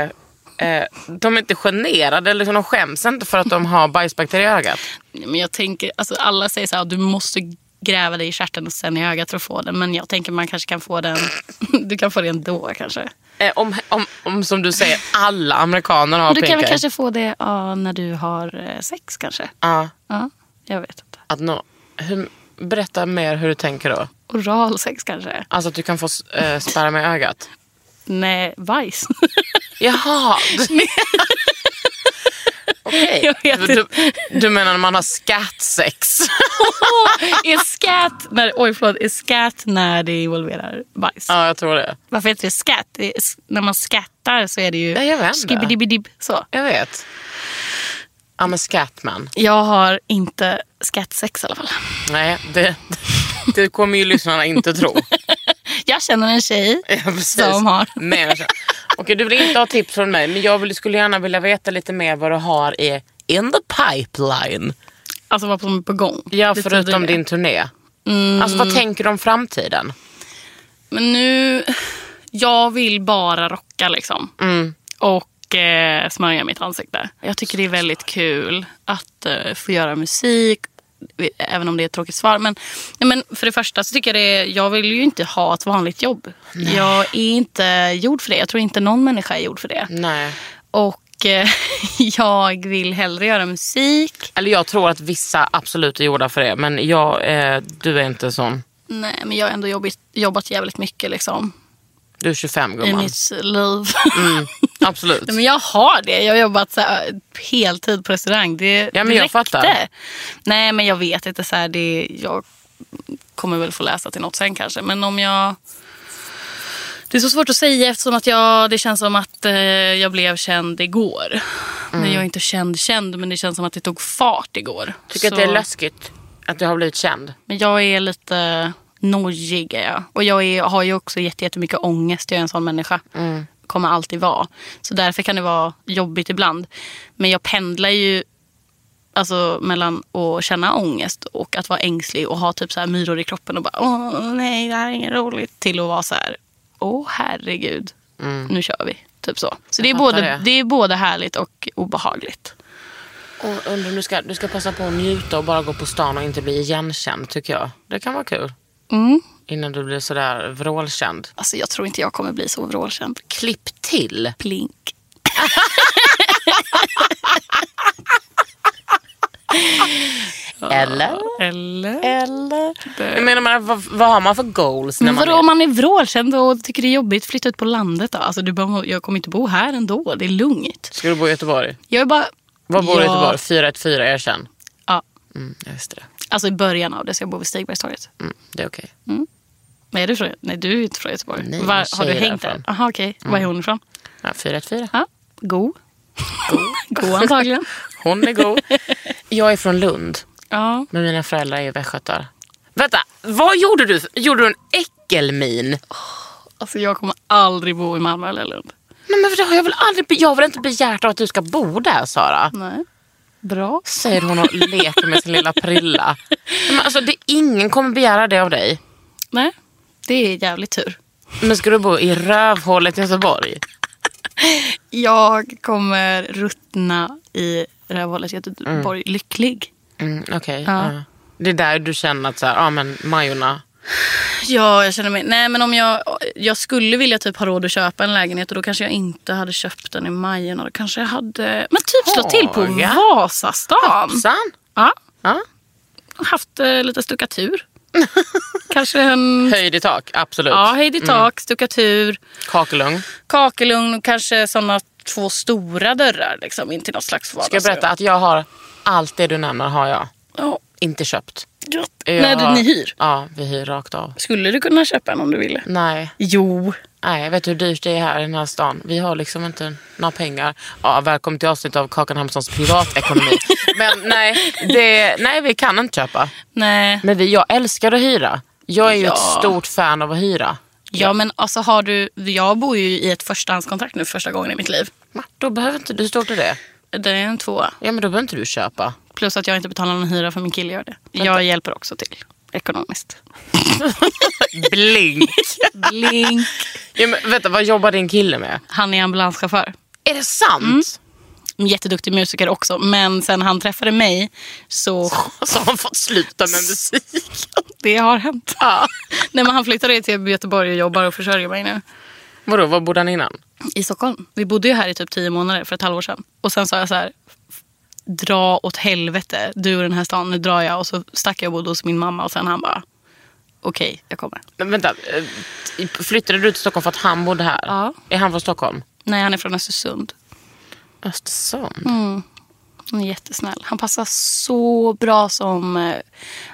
[SPEAKER 1] eh, de är inte generade eller liksom, de skäms inte för att de har bajsbakterier i ögat?
[SPEAKER 4] Men jag tänker, alltså alla säger så här “du måste gräva dig i stjärten och sen i ögat för att få den”. Men jag tänker man kanske kan få den, du kan få det ändå kanske.
[SPEAKER 1] Eh, om, om, om som du säger, alla amerikaner har
[SPEAKER 4] Men du kan
[SPEAKER 1] pink
[SPEAKER 4] väl
[SPEAKER 1] eye.
[SPEAKER 4] kanske få det ja, när du har eh, sex kanske?
[SPEAKER 1] Ja,
[SPEAKER 4] Ja, jag vet inte.
[SPEAKER 1] att nå, hur, berätta mer hur du tänker då.
[SPEAKER 4] Oralsex kanske?
[SPEAKER 1] Alltså att du kan få eh, sperma i ögat.
[SPEAKER 4] Nej, bajs.
[SPEAKER 1] Jaha. Du... Okej.
[SPEAKER 4] Jag vet
[SPEAKER 1] Du, du menar när man har skattsex?
[SPEAKER 4] är skat när, oj, förlåt, är skat när det involverar bajs?
[SPEAKER 1] ja, jag tror det.
[SPEAKER 4] Varför heter det skat? Det är, s- när man skattar så är det ju
[SPEAKER 1] Ja, jag vet inte.
[SPEAKER 4] skibbidibbidib. Så.
[SPEAKER 1] Jag vet. Ja, men Scatman.
[SPEAKER 4] Jag har inte skattsex i alla fall.
[SPEAKER 1] Nej, det, det kommer ju lyssnarna inte tro.
[SPEAKER 4] Jag känner en tjej.
[SPEAKER 1] Ja, precis.
[SPEAKER 4] Som har.
[SPEAKER 1] Men, okej, du vill inte ha tips från mig, men jag vill, skulle gärna vilja veta lite mer vad du har i in the pipeline.
[SPEAKER 4] Alltså vad som är på gång.
[SPEAKER 1] Ja,
[SPEAKER 4] Lite
[SPEAKER 1] förutom
[SPEAKER 4] tidigare.
[SPEAKER 1] din turné.
[SPEAKER 4] Mm.
[SPEAKER 1] Alltså vad tänker du om framtiden?
[SPEAKER 4] Men nu... Jag vill bara rocka liksom. Och eh, smörja mitt ansikte. Jag tycker det är väldigt kul att eh, få göra musik. Även om det är ett tråkigt svar. Men, nej, men för det första så tycker jag det är, Jag vill ju inte ha ett vanligt jobb. Jag är inte gjord för det. Jag tror inte någon människa är gjord för det.
[SPEAKER 1] Nej.
[SPEAKER 4] Och eh, jag vill hellre göra musik.
[SPEAKER 1] Eller jag tror att vissa absolut är gjorda för det, men jag, eh, du är inte sån.
[SPEAKER 4] Nej, men jag har ändå jobbat, jobbat jävligt mycket liksom.
[SPEAKER 1] Du är 25
[SPEAKER 4] I
[SPEAKER 1] gumman.
[SPEAKER 4] mitt liv. Mm.
[SPEAKER 1] Absolut.
[SPEAKER 4] Nej, men jag har det. Jag har jobbat så här, heltid på restaurang. Det,
[SPEAKER 1] Ja, men
[SPEAKER 4] det
[SPEAKER 1] jag
[SPEAKER 4] räckte.
[SPEAKER 1] fattar.
[SPEAKER 4] Nej, men jag vet inte. Så här, det, jag kommer väl få läsa till något sen kanske. Men om jag... Det är så svårt att säga eftersom att jag, det känns som att eh, jag blev känd
[SPEAKER 1] Mm.
[SPEAKER 4] igår. Men jag är inte känd känd, men det känns som att det tog fart igår.
[SPEAKER 1] Tycker
[SPEAKER 4] Så-
[SPEAKER 1] att det är läskigt? Att du har blivit känd?
[SPEAKER 4] Men jag är lite nojig är jag. Och jag är, har ju också jätte- jättemycket ångest. Jag är en sån människa.
[SPEAKER 1] Mm.
[SPEAKER 4] Kommer alltid vara. Så därför kan det vara jobbigt ibland. Men jag pendlar ju alltså, mellan att känna ångest och att vara ängslig och ha typ så här myror i kroppen och bara åh nej det här är inget roligt. Till att vara så här åh herregud nu kör vi. Typ så. Så det är,
[SPEAKER 1] Mm. fattar
[SPEAKER 4] både,
[SPEAKER 1] det.
[SPEAKER 4] det. är både härligt och obehagligt.
[SPEAKER 1] Och undrar om du ska, du ska passa på att njuta och bara gå på stan och inte bli igenkänd tycker jag. Det kan vara kul.
[SPEAKER 4] Mm.
[SPEAKER 1] Innan du blir sådär vrålkänd.
[SPEAKER 4] Alltså jag tror inte jag kommer bli så vrålkänd.
[SPEAKER 1] Klipp till.
[SPEAKER 4] Plink.
[SPEAKER 1] Eller?
[SPEAKER 4] Eller?
[SPEAKER 1] Eller? Ah. Jag menar, men vad, vad har man för goals? eh, När
[SPEAKER 4] Men
[SPEAKER 1] man
[SPEAKER 4] vadå om
[SPEAKER 1] är...
[SPEAKER 4] man är vrålkänd och tycker det är jobbigt, flytta ut på landet då. Alltså, du bara, jag kommer inte bo här ändå, det är lugnt.
[SPEAKER 1] Ska du bo i Göteborg?
[SPEAKER 4] Jag är bara...
[SPEAKER 1] Var bor du i
[SPEAKER 4] Ja,
[SPEAKER 1] Göteborg? 414, erkänn.
[SPEAKER 4] Ja,
[SPEAKER 1] Mm, jag visste det.
[SPEAKER 4] alltså i början av det, så jag bor vid Stigbergstorget.
[SPEAKER 1] Mm, det är okej.
[SPEAKER 4] Men är du från, nej, du är inte från Göteborg.
[SPEAKER 1] Nej,
[SPEAKER 4] Var,
[SPEAKER 1] min
[SPEAKER 4] har du
[SPEAKER 1] tjej är
[SPEAKER 4] hängt där?
[SPEAKER 1] därifrån.
[SPEAKER 4] Jaha, okej. Var är hon ifrån?
[SPEAKER 1] Ja, 414.
[SPEAKER 4] Ja, go. Go antagligen.
[SPEAKER 1] Hon är god. jag är från Lund,
[SPEAKER 4] Ja.
[SPEAKER 1] men mina föräldrar är västgötar. Vänta, vad gjorde du? Gjorde du en äckelmin?
[SPEAKER 4] Alltså jag kommer aldrig bo i Malmö eller Lund.
[SPEAKER 1] Nej, men för det har jag väl aldrig be- jag har väl inte begärt att du ska bo där, Sara?
[SPEAKER 4] Nej. Bra.
[SPEAKER 1] Säger hon och leker med sin lilla prilla. Nej, Men alltså, det, ingen kommer begära det av dig.
[SPEAKER 4] Nej, det är jävligt tur.
[SPEAKER 1] Men ska du bo i rövhålet i Göteborg?
[SPEAKER 4] Jag kommer ruttna i rövhålet typ Göteborg lycklig.
[SPEAKER 1] Mm, Okej.
[SPEAKER 4] Ja.
[SPEAKER 1] ja. Det är där du känner att så här, ja, men Majorna...
[SPEAKER 4] Ja, jag känner mig... Nej, men om jag, jag skulle vilja typ ha råd att köpa en lägenhet och då kanske jag inte hade köpt den i Majorna. Då kanske jag hade... Men typ slå till på
[SPEAKER 1] Haga.
[SPEAKER 4] Vasastan.
[SPEAKER 1] Hoppsan!
[SPEAKER 4] Ja,
[SPEAKER 1] Ja.
[SPEAKER 4] haft eh, lite stuckatur. kanske en...
[SPEAKER 1] Höjd i tak, absolut.
[SPEAKER 4] Ja, hejd
[SPEAKER 1] Mm.
[SPEAKER 4] i tak, stuckatur,
[SPEAKER 1] Kakelugn.
[SPEAKER 4] kakelugn och kanske såna två stora dörrar liksom in till något slags
[SPEAKER 1] Ska jag
[SPEAKER 4] vardagsrum.
[SPEAKER 1] berätta att jag har allt det du nämner har jag
[SPEAKER 4] Ja.
[SPEAKER 1] inte köpt.
[SPEAKER 4] Jag...
[SPEAKER 1] Jag
[SPEAKER 4] Nej, du,
[SPEAKER 1] har-
[SPEAKER 4] ni hyr.
[SPEAKER 1] Ja, vi hyr rakt av.
[SPEAKER 4] Skulle du kunna köpa en om du ville?
[SPEAKER 1] Nej,
[SPEAKER 4] Jo.
[SPEAKER 1] nej, vet du hur dyrt det är här i den här stan? Vi har liksom inte några pengar. Ja, välkommen till avsnitt av Kakan Hammarssons privatekonomi. Men nej, det, nej, vi kan inte köpa.
[SPEAKER 4] Nej.
[SPEAKER 1] Men vi, jag älskar att hyra. Jag är ju
[SPEAKER 4] Ja.
[SPEAKER 1] ett stort fan av att hyra.
[SPEAKER 4] Ja men alltså har du, jag bor ju i ett förstahandskontrakt nu för första gången i mitt liv.
[SPEAKER 1] Ma, Då behöver inte du stå till det.
[SPEAKER 4] Det är en tvåa.
[SPEAKER 1] Ja, men då behöver inte du köpa.
[SPEAKER 4] Plus att jag inte betalar någon hyra för min kille gör det. Jag hjälper också till ekonomiskt.
[SPEAKER 1] Blink.
[SPEAKER 4] Blink.
[SPEAKER 1] Ja, men, vänta, vad jobbar din kille med?
[SPEAKER 4] Han är ambulanschaufför.
[SPEAKER 1] Är det sant?
[SPEAKER 4] Mm. Jätteduktig musiker också men sen han träffade mig så
[SPEAKER 1] Så Alltså, har han fått sluta med musik.
[SPEAKER 4] det har hänt. Nej men han flyttade till Göteborg och jobbar och försörjer mig nu.
[SPEAKER 1] Vadå, var bodde han innan?
[SPEAKER 4] i Stockholm. Vi bodde ju här i typ tio månader för ett halvår sedan. Och sen sa jag så här, dra åt helvete, du och den här stan, nu drar jag. Och så stack jag och bodde hos min mamma och sen han bara, okej, jag kommer.
[SPEAKER 1] Nej, vänta, eh, i- flyttade du till Stockholm för att han bodde här?
[SPEAKER 4] Ja.
[SPEAKER 1] Är han från Stockholm?
[SPEAKER 4] Nej, han är från Östersund.
[SPEAKER 1] Östersund?
[SPEAKER 4] Mm. Han är jättesnäll. Han passar så bra som eh,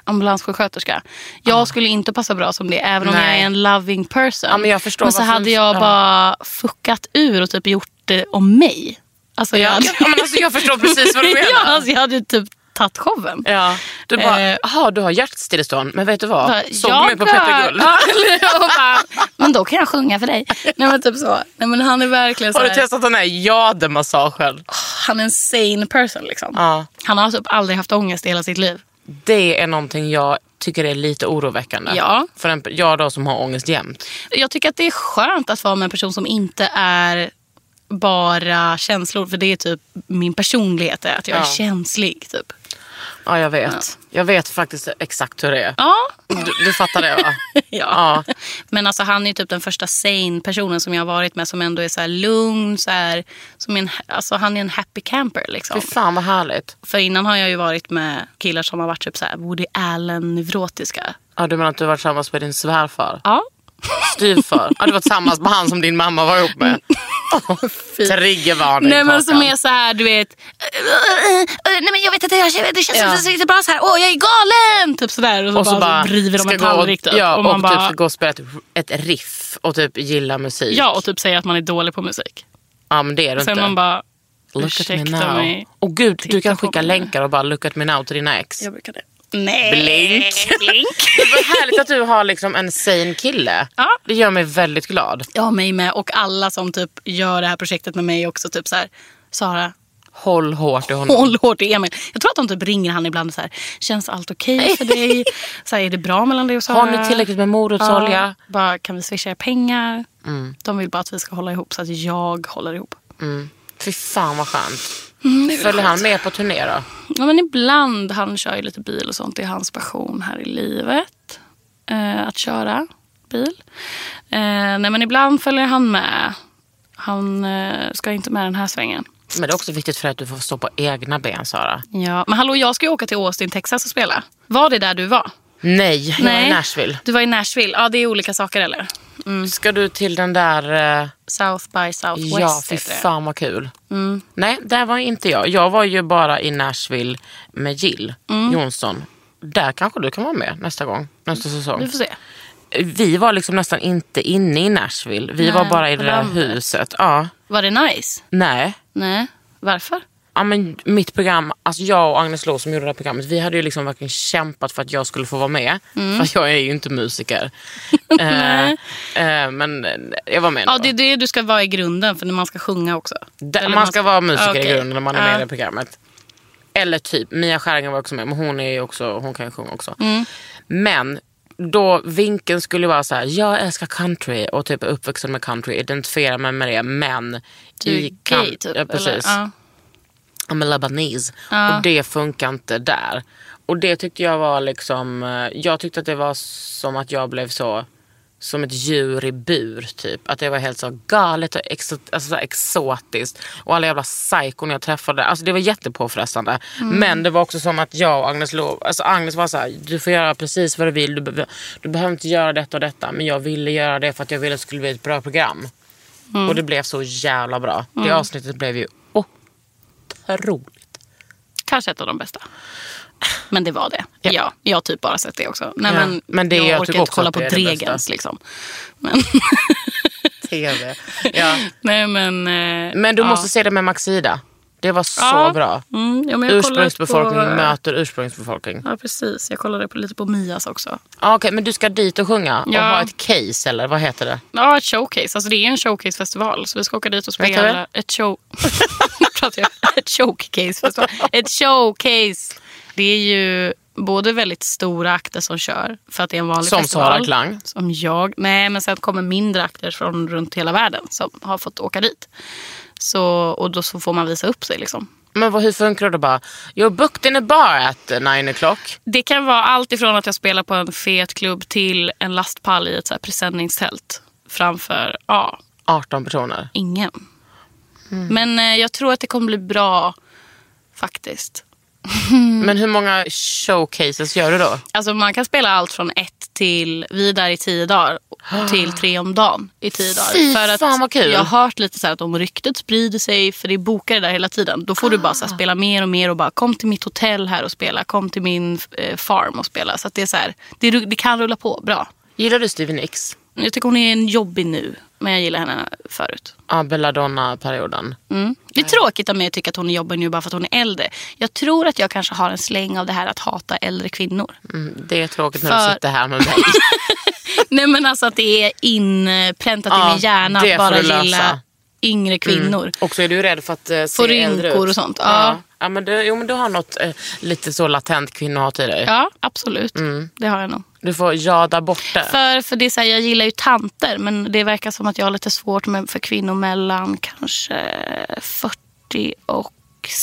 [SPEAKER 4] ambulanssjuksköterska. Jag skulle inte passa bra som det, även om jag
[SPEAKER 1] Nej.
[SPEAKER 4] är en loving person.
[SPEAKER 1] Ja, men jag förstår
[SPEAKER 4] så
[SPEAKER 1] varför
[SPEAKER 4] hade
[SPEAKER 1] du-
[SPEAKER 4] jag
[SPEAKER 1] ja.
[SPEAKER 4] bara fuckat ur och typ gjort det om mig. Alltså, jag,
[SPEAKER 1] Ja,
[SPEAKER 4] hade...
[SPEAKER 1] ja, men alltså, jag förstår precis vad du menar.
[SPEAKER 4] ja, alltså, jag hade ju typ tagit showen.
[SPEAKER 1] Ja. Du bara,
[SPEAKER 4] Eh.
[SPEAKER 1] jaha du har hjärtstillestånd, men vet du
[SPEAKER 4] Bara,
[SPEAKER 1] vad? Såg du
[SPEAKER 4] jag
[SPEAKER 1] mig på Peter
[SPEAKER 4] dör.
[SPEAKER 1] Guld?
[SPEAKER 4] Ja, eller- och bara, men då kan jag sjunga för dig. Nej men typ så. Nej, men han är verkligen så
[SPEAKER 1] Har du
[SPEAKER 4] här,
[SPEAKER 1] testat den här jademassagen?
[SPEAKER 4] han är en sane person liksom.
[SPEAKER 1] Ja.
[SPEAKER 4] Han har typ aldrig haft ångest i hela sitt liv.
[SPEAKER 1] Det är någonting jag tycker är lite oroväckande.
[SPEAKER 4] Ja.
[SPEAKER 1] För en, jag då som har ångest jämt.
[SPEAKER 4] Jag tycker att det är skönt att vara med en person som inte är bara känslor. För det är typ min personlighet, är att jag är
[SPEAKER 1] Ja.
[SPEAKER 4] känslig. Typ.
[SPEAKER 1] Ja, jag vet. Jag vet faktiskt exakt hur det är.
[SPEAKER 4] Ja.
[SPEAKER 1] Du, du fattar det va?
[SPEAKER 4] Ja. Men alltså han är ju typ den första sane personen som jag har varit med som ändå är så här lugn. Så här, som är en, alltså han är en happy camper liksom.
[SPEAKER 1] Fy fan vad härligt.
[SPEAKER 4] För innan har jag ju varit med killar som har varit typ så här Woody Allen-neurotiska.
[SPEAKER 1] Ja, du menar att du har varit tillsammans med din svärfar?
[SPEAKER 4] Ja.
[SPEAKER 1] Styvfar? Ja, du var tillsammans med han som din mamma var ihop med? Triggervarning
[SPEAKER 4] Nej men som
[SPEAKER 1] Kakan.
[SPEAKER 4] är så här, du vet. Nej men jag vet inte, jag känner, det känns
[SPEAKER 1] Ja.
[SPEAKER 4] inte så riktigt bra så här. Åh jag är galen! Typ sådär. Och så,
[SPEAKER 1] Och så bara
[SPEAKER 4] river de
[SPEAKER 1] ska
[SPEAKER 4] en
[SPEAKER 1] gå och,
[SPEAKER 4] tallrik typ.
[SPEAKER 1] ja, och,
[SPEAKER 4] man
[SPEAKER 1] typ
[SPEAKER 4] bara,
[SPEAKER 1] ska gå och spela ett, ett riff och typ gilla musik.
[SPEAKER 4] ja och typ säger att man är dålig på musik.
[SPEAKER 1] Ja, men det är du
[SPEAKER 4] Sen
[SPEAKER 1] inte.
[SPEAKER 4] man bara,
[SPEAKER 1] look at me
[SPEAKER 4] ursäkta
[SPEAKER 1] now.
[SPEAKER 4] mig.
[SPEAKER 1] Och gud, du
[SPEAKER 4] Titta
[SPEAKER 1] kan
[SPEAKER 4] på
[SPEAKER 1] skicka
[SPEAKER 4] mig.
[SPEAKER 1] länkar och bara look at me now till dina ex.
[SPEAKER 4] Jag brukar det. Nej.
[SPEAKER 1] Blink.
[SPEAKER 4] Blink.
[SPEAKER 1] Vad härligt att du har liksom en sane kille.
[SPEAKER 4] Ja.
[SPEAKER 1] Det gör mig väldigt glad.
[SPEAKER 4] Ja, mig med. Och alla som typ gör det här projektet med mig också. Typ så här, Sara,
[SPEAKER 1] Håll hårt i honom.
[SPEAKER 4] håll hårt i Emil. Jag tror att de typ ringer han ibland och så här, känns allt okej för dig? Så här, är det bra mellan dig och Sara?
[SPEAKER 1] Har ni tillräckligt med morotsolja?
[SPEAKER 4] Ja, bara, kan vi swisha er pengar?
[SPEAKER 1] Mm.
[SPEAKER 4] De vill bara att vi ska hålla ihop så att jag håller ihop.
[SPEAKER 1] Fy fan vad skönt.
[SPEAKER 4] Mm,
[SPEAKER 1] Följer han med på turné då?
[SPEAKER 4] Ja, men ibland, han kör ju lite bil och sånt. Det är hans passion här i livet. Eh, att köra bil. Eh, nej, men ibland följer han med. Han eh, ska inte med den här svängen.
[SPEAKER 1] Men det är också viktigt för att du får stå på egna ben Sara.
[SPEAKER 4] Ja, men hallå, jag ska ju åka till Austin, Texas och spela. Var det där du var?
[SPEAKER 1] Nej, jag är i Nashville.
[SPEAKER 4] Du var i Nashville. Ja, det är olika saker eller? Mm.
[SPEAKER 1] Ska du till den där... eh,
[SPEAKER 4] South by Southwest
[SPEAKER 1] Ja, fy
[SPEAKER 4] heter det. Mm.
[SPEAKER 1] fan vad kul. Nej, där var inte jag. Jag var ju bara i Nashville med Jill
[SPEAKER 4] Mm.
[SPEAKER 1] Johnson. Där kanske du kan vara med nästa gång, nästa säsong.
[SPEAKER 4] Vi får se.
[SPEAKER 1] Vi var liksom nästan inte inne i Nashville. Vi
[SPEAKER 4] Nej,
[SPEAKER 1] var bara i
[SPEAKER 4] på
[SPEAKER 1] det där
[SPEAKER 4] landet.
[SPEAKER 1] huset. Ja,
[SPEAKER 4] Var det nice?
[SPEAKER 1] nej.
[SPEAKER 4] Nej. Varför?
[SPEAKER 1] Ja, men mitt program, alltså jag och Agnes Lo som gjorde det här programmet, vi hade ju liksom verkligen kämpat för att jag skulle få vara med.
[SPEAKER 4] Mm.
[SPEAKER 1] För att jag är ju inte musiker. eh, eh, men jag var med
[SPEAKER 4] Ja,
[SPEAKER 1] ändå.
[SPEAKER 4] det är det du ska vara i grunden för när man ska sjunga också.
[SPEAKER 1] Där,
[SPEAKER 4] Eller
[SPEAKER 1] man ska vara musiker i
[SPEAKER 4] Okej.
[SPEAKER 1] grunden när man är med
[SPEAKER 4] Ja.
[SPEAKER 1] i det programmet. Eller typ, Mia Skäringer var också med, men hon, är ju också, hon kan ju sjunga också.
[SPEAKER 4] Mm.
[SPEAKER 1] Men då vinkeln skulle vara så här: jag älskar country och typ är uppvuxen med country, identifierar mig med det, men
[SPEAKER 4] Du är gay
[SPEAKER 1] country-
[SPEAKER 4] typ.
[SPEAKER 1] Ja, precis.
[SPEAKER 4] Eller? Ja.
[SPEAKER 1] I'm a Lebanese. Och det funkar inte där. Och det tyckte jag var liksom, eh, jag tyckte att det var som att jag blev så, som ett djur i bur typ. Att det var helt så galet och exo- alltså, så här exotiskt. Och alla jävla psykon jag träffade, alltså det var jättepåfrestande. Men det var också som att jag och Agnes lov, alltså Agnes var så här, du får göra precis vad du vill. Du, be- du behöver inte göra detta och detta. Men jag ville göra det för att jag ville att det skulle bli ett bra program. Och det blev så jävla bra. Det avsnittet blev ju otroligt.
[SPEAKER 4] Kanske ett av de bästa. Men det var det. Ja. jag har typ bara sett det också. Nej,
[SPEAKER 1] Ja,
[SPEAKER 4] men,
[SPEAKER 1] men det-
[SPEAKER 4] jag,
[SPEAKER 1] jag
[SPEAKER 4] orkar
[SPEAKER 1] tycker
[SPEAKER 4] inte
[SPEAKER 1] också
[SPEAKER 4] kolla
[SPEAKER 1] att
[SPEAKER 4] på
[SPEAKER 1] det är det bästa.
[SPEAKER 4] Dregens liksom. Men,
[SPEAKER 1] TV. Ja.
[SPEAKER 4] nej, men, eh,
[SPEAKER 1] Men du
[SPEAKER 4] ja.
[SPEAKER 1] måste se det med Maxida. Det var så
[SPEAKER 4] Ja.
[SPEAKER 1] bra.
[SPEAKER 4] Mm, ja, men jag kollade
[SPEAKER 1] Ursprungsbefolkning
[SPEAKER 4] på- eh,
[SPEAKER 1] möter ursprungsbefolkning.
[SPEAKER 4] Ja, precis. Jag kollade på, lite på Mias också.
[SPEAKER 1] Ah, Okej, men du ska dit och sjunga och
[SPEAKER 4] Ja.
[SPEAKER 1] ha ett case eller vad heter det?
[SPEAKER 4] Ja, ett showcase. Alltså det är en showcase-festival. Så vi ska åka dit och
[SPEAKER 1] Vad heter
[SPEAKER 4] spela ett show... Nu pratar jag. Ett showcase-festival. Ett showcase. Det är ju både väldigt stora akter som kör för att det är en vanlig
[SPEAKER 1] Som
[SPEAKER 4] festival.
[SPEAKER 1] Sara Klang.
[SPEAKER 4] Som jag. Nej, men sen kommer mindre akter från runt hela världen som har fått åka dit. Så, och då så får man visa upp sig liksom.
[SPEAKER 1] Men vad, hur funkar det bara? You're booked in a bar at eh, nine o'clock.
[SPEAKER 4] Det kan vara allt ifrån att jag spelar på en fet klubb till en lastpall i ett så här presenningstält framför ja,
[SPEAKER 1] 18 personer.
[SPEAKER 4] ingen.
[SPEAKER 1] Mm.
[SPEAKER 4] Men eh, jag tror att det kommer bli bra faktiskt. Mm.
[SPEAKER 1] Men hur många showcases gör du då?
[SPEAKER 4] Alltså man kan spela allt från ett till, vi är där i tio dagar, till tre om dagen i tio dagar.
[SPEAKER 1] Fy
[SPEAKER 4] för att
[SPEAKER 1] fan, vad kul.
[SPEAKER 4] Jag har hört lite så här att om ryktet sprider sig, för det är bokare där hela tiden, då får du bara så här
[SPEAKER 1] Ah.
[SPEAKER 4] spela mer och mer och bara kom till mitt hotell här och spela, kom till min eh, farm och spela. Så att det är så här, det, ru- det kan rulla på bra.
[SPEAKER 1] Gillar du Stevie Nicks?
[SPEAKER 4] Jag tycker hon är en jobbig nu, men jag gillar henne förut.
[SPEAKER 1] Ja, Belladonna-perioden.
[SPEAKER 4] Mm. Det är tråkigt av mig att tycka att hon är jobbig nu bara för att hon är äldre. Jag tror att jag kanske har en släng av det här att hata äldre kvinnor.
[SPEAKER 1] Mm, det är tråkigt när du
[SPEAKER 4] För-
[SPEAKER 1] sitter här med mig.
[SPEAKER 4] Nej men alltså att det är inpräntat
[SPEAKER 1] Ja,
[SPEAKER 4] i min hjärna
[SPEAKER 1] det
[SPEAKER 4] att bara
[SPEAKER 1] får du lösa. Mm.
[SPEAKER 4] gilla yngre kvinnor.
[SPEAKER 1] Och så är du rädd för att eh, se
[SPEAKER 4] Få
[SPEAKER 1] äldre
[SPEAKER 4] rynkor
[SPEAKER 1] ut.
[SPEAKER 4] och sånt, ja.
[SPEAKER 1] Ja. Ja, men du, jo, men du har något eh, lite så latent kvinnohat i dig.
[SPEAKER 4] Ja, absolut.
[SPEAKER 1] Mm.
[SPEAKER 4] Det har jag nog.
[SPEAKER 1] Du får jada bort det.
[SPEAKER 4] För, för det är så här, jag gillar ju tanter men det verkar som att jag har lite svårt med, för kvinnor mellan kanske 40 och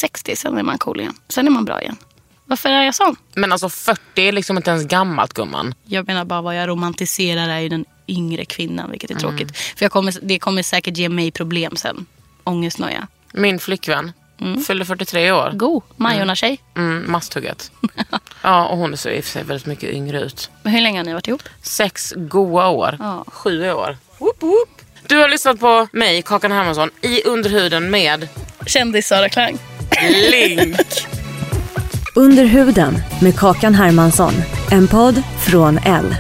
[SPEAKER 4] 60. Sen är man cool igen. Sen är man bra igen. Varför är jag sån?
[SPEAKER 1] Men alltså 40 är liksom inte ens gammalt gumman.
[SPEAKER 4] Jag menar bara vad jag romantiserar är ju den yngre kvinnan, vilket är tråkigt. För jag kommer, det kommer säkert ge mig problem sen. Ångestnoja.
[SPEAKER 1] Min flickvän
[SPEAKER 4] Mm.
[SPEAKER 1] fyllde 43 år.
[SPEAKER 4] Go, Majorna-tjej.
[SPEAKER 1] Mm, masthugget. ja, och hon ser i och för sig väldigt mycket yngre ut.
[SPEAKER 4] Men Hur länge har ni varit ihop?
[SPEAKER 1] Sex goa år.
[SPEAKER 4] Ja.
[SPEAKER 1] Sju år. Whoop, whoop. Du har lyssnat på mig, Kakan Hermansson, i Underhuden med
[SPEAKER 4] Kändis-Sara Klang.
[SPEAKER 1] Link.
[SPEAKER 2] Under huden med Kakan Hermansson. En podd från L.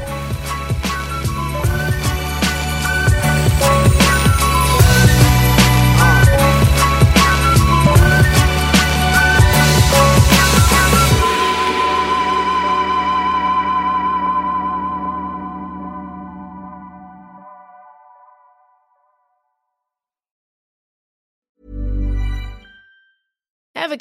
[SPEAKER 3] Ever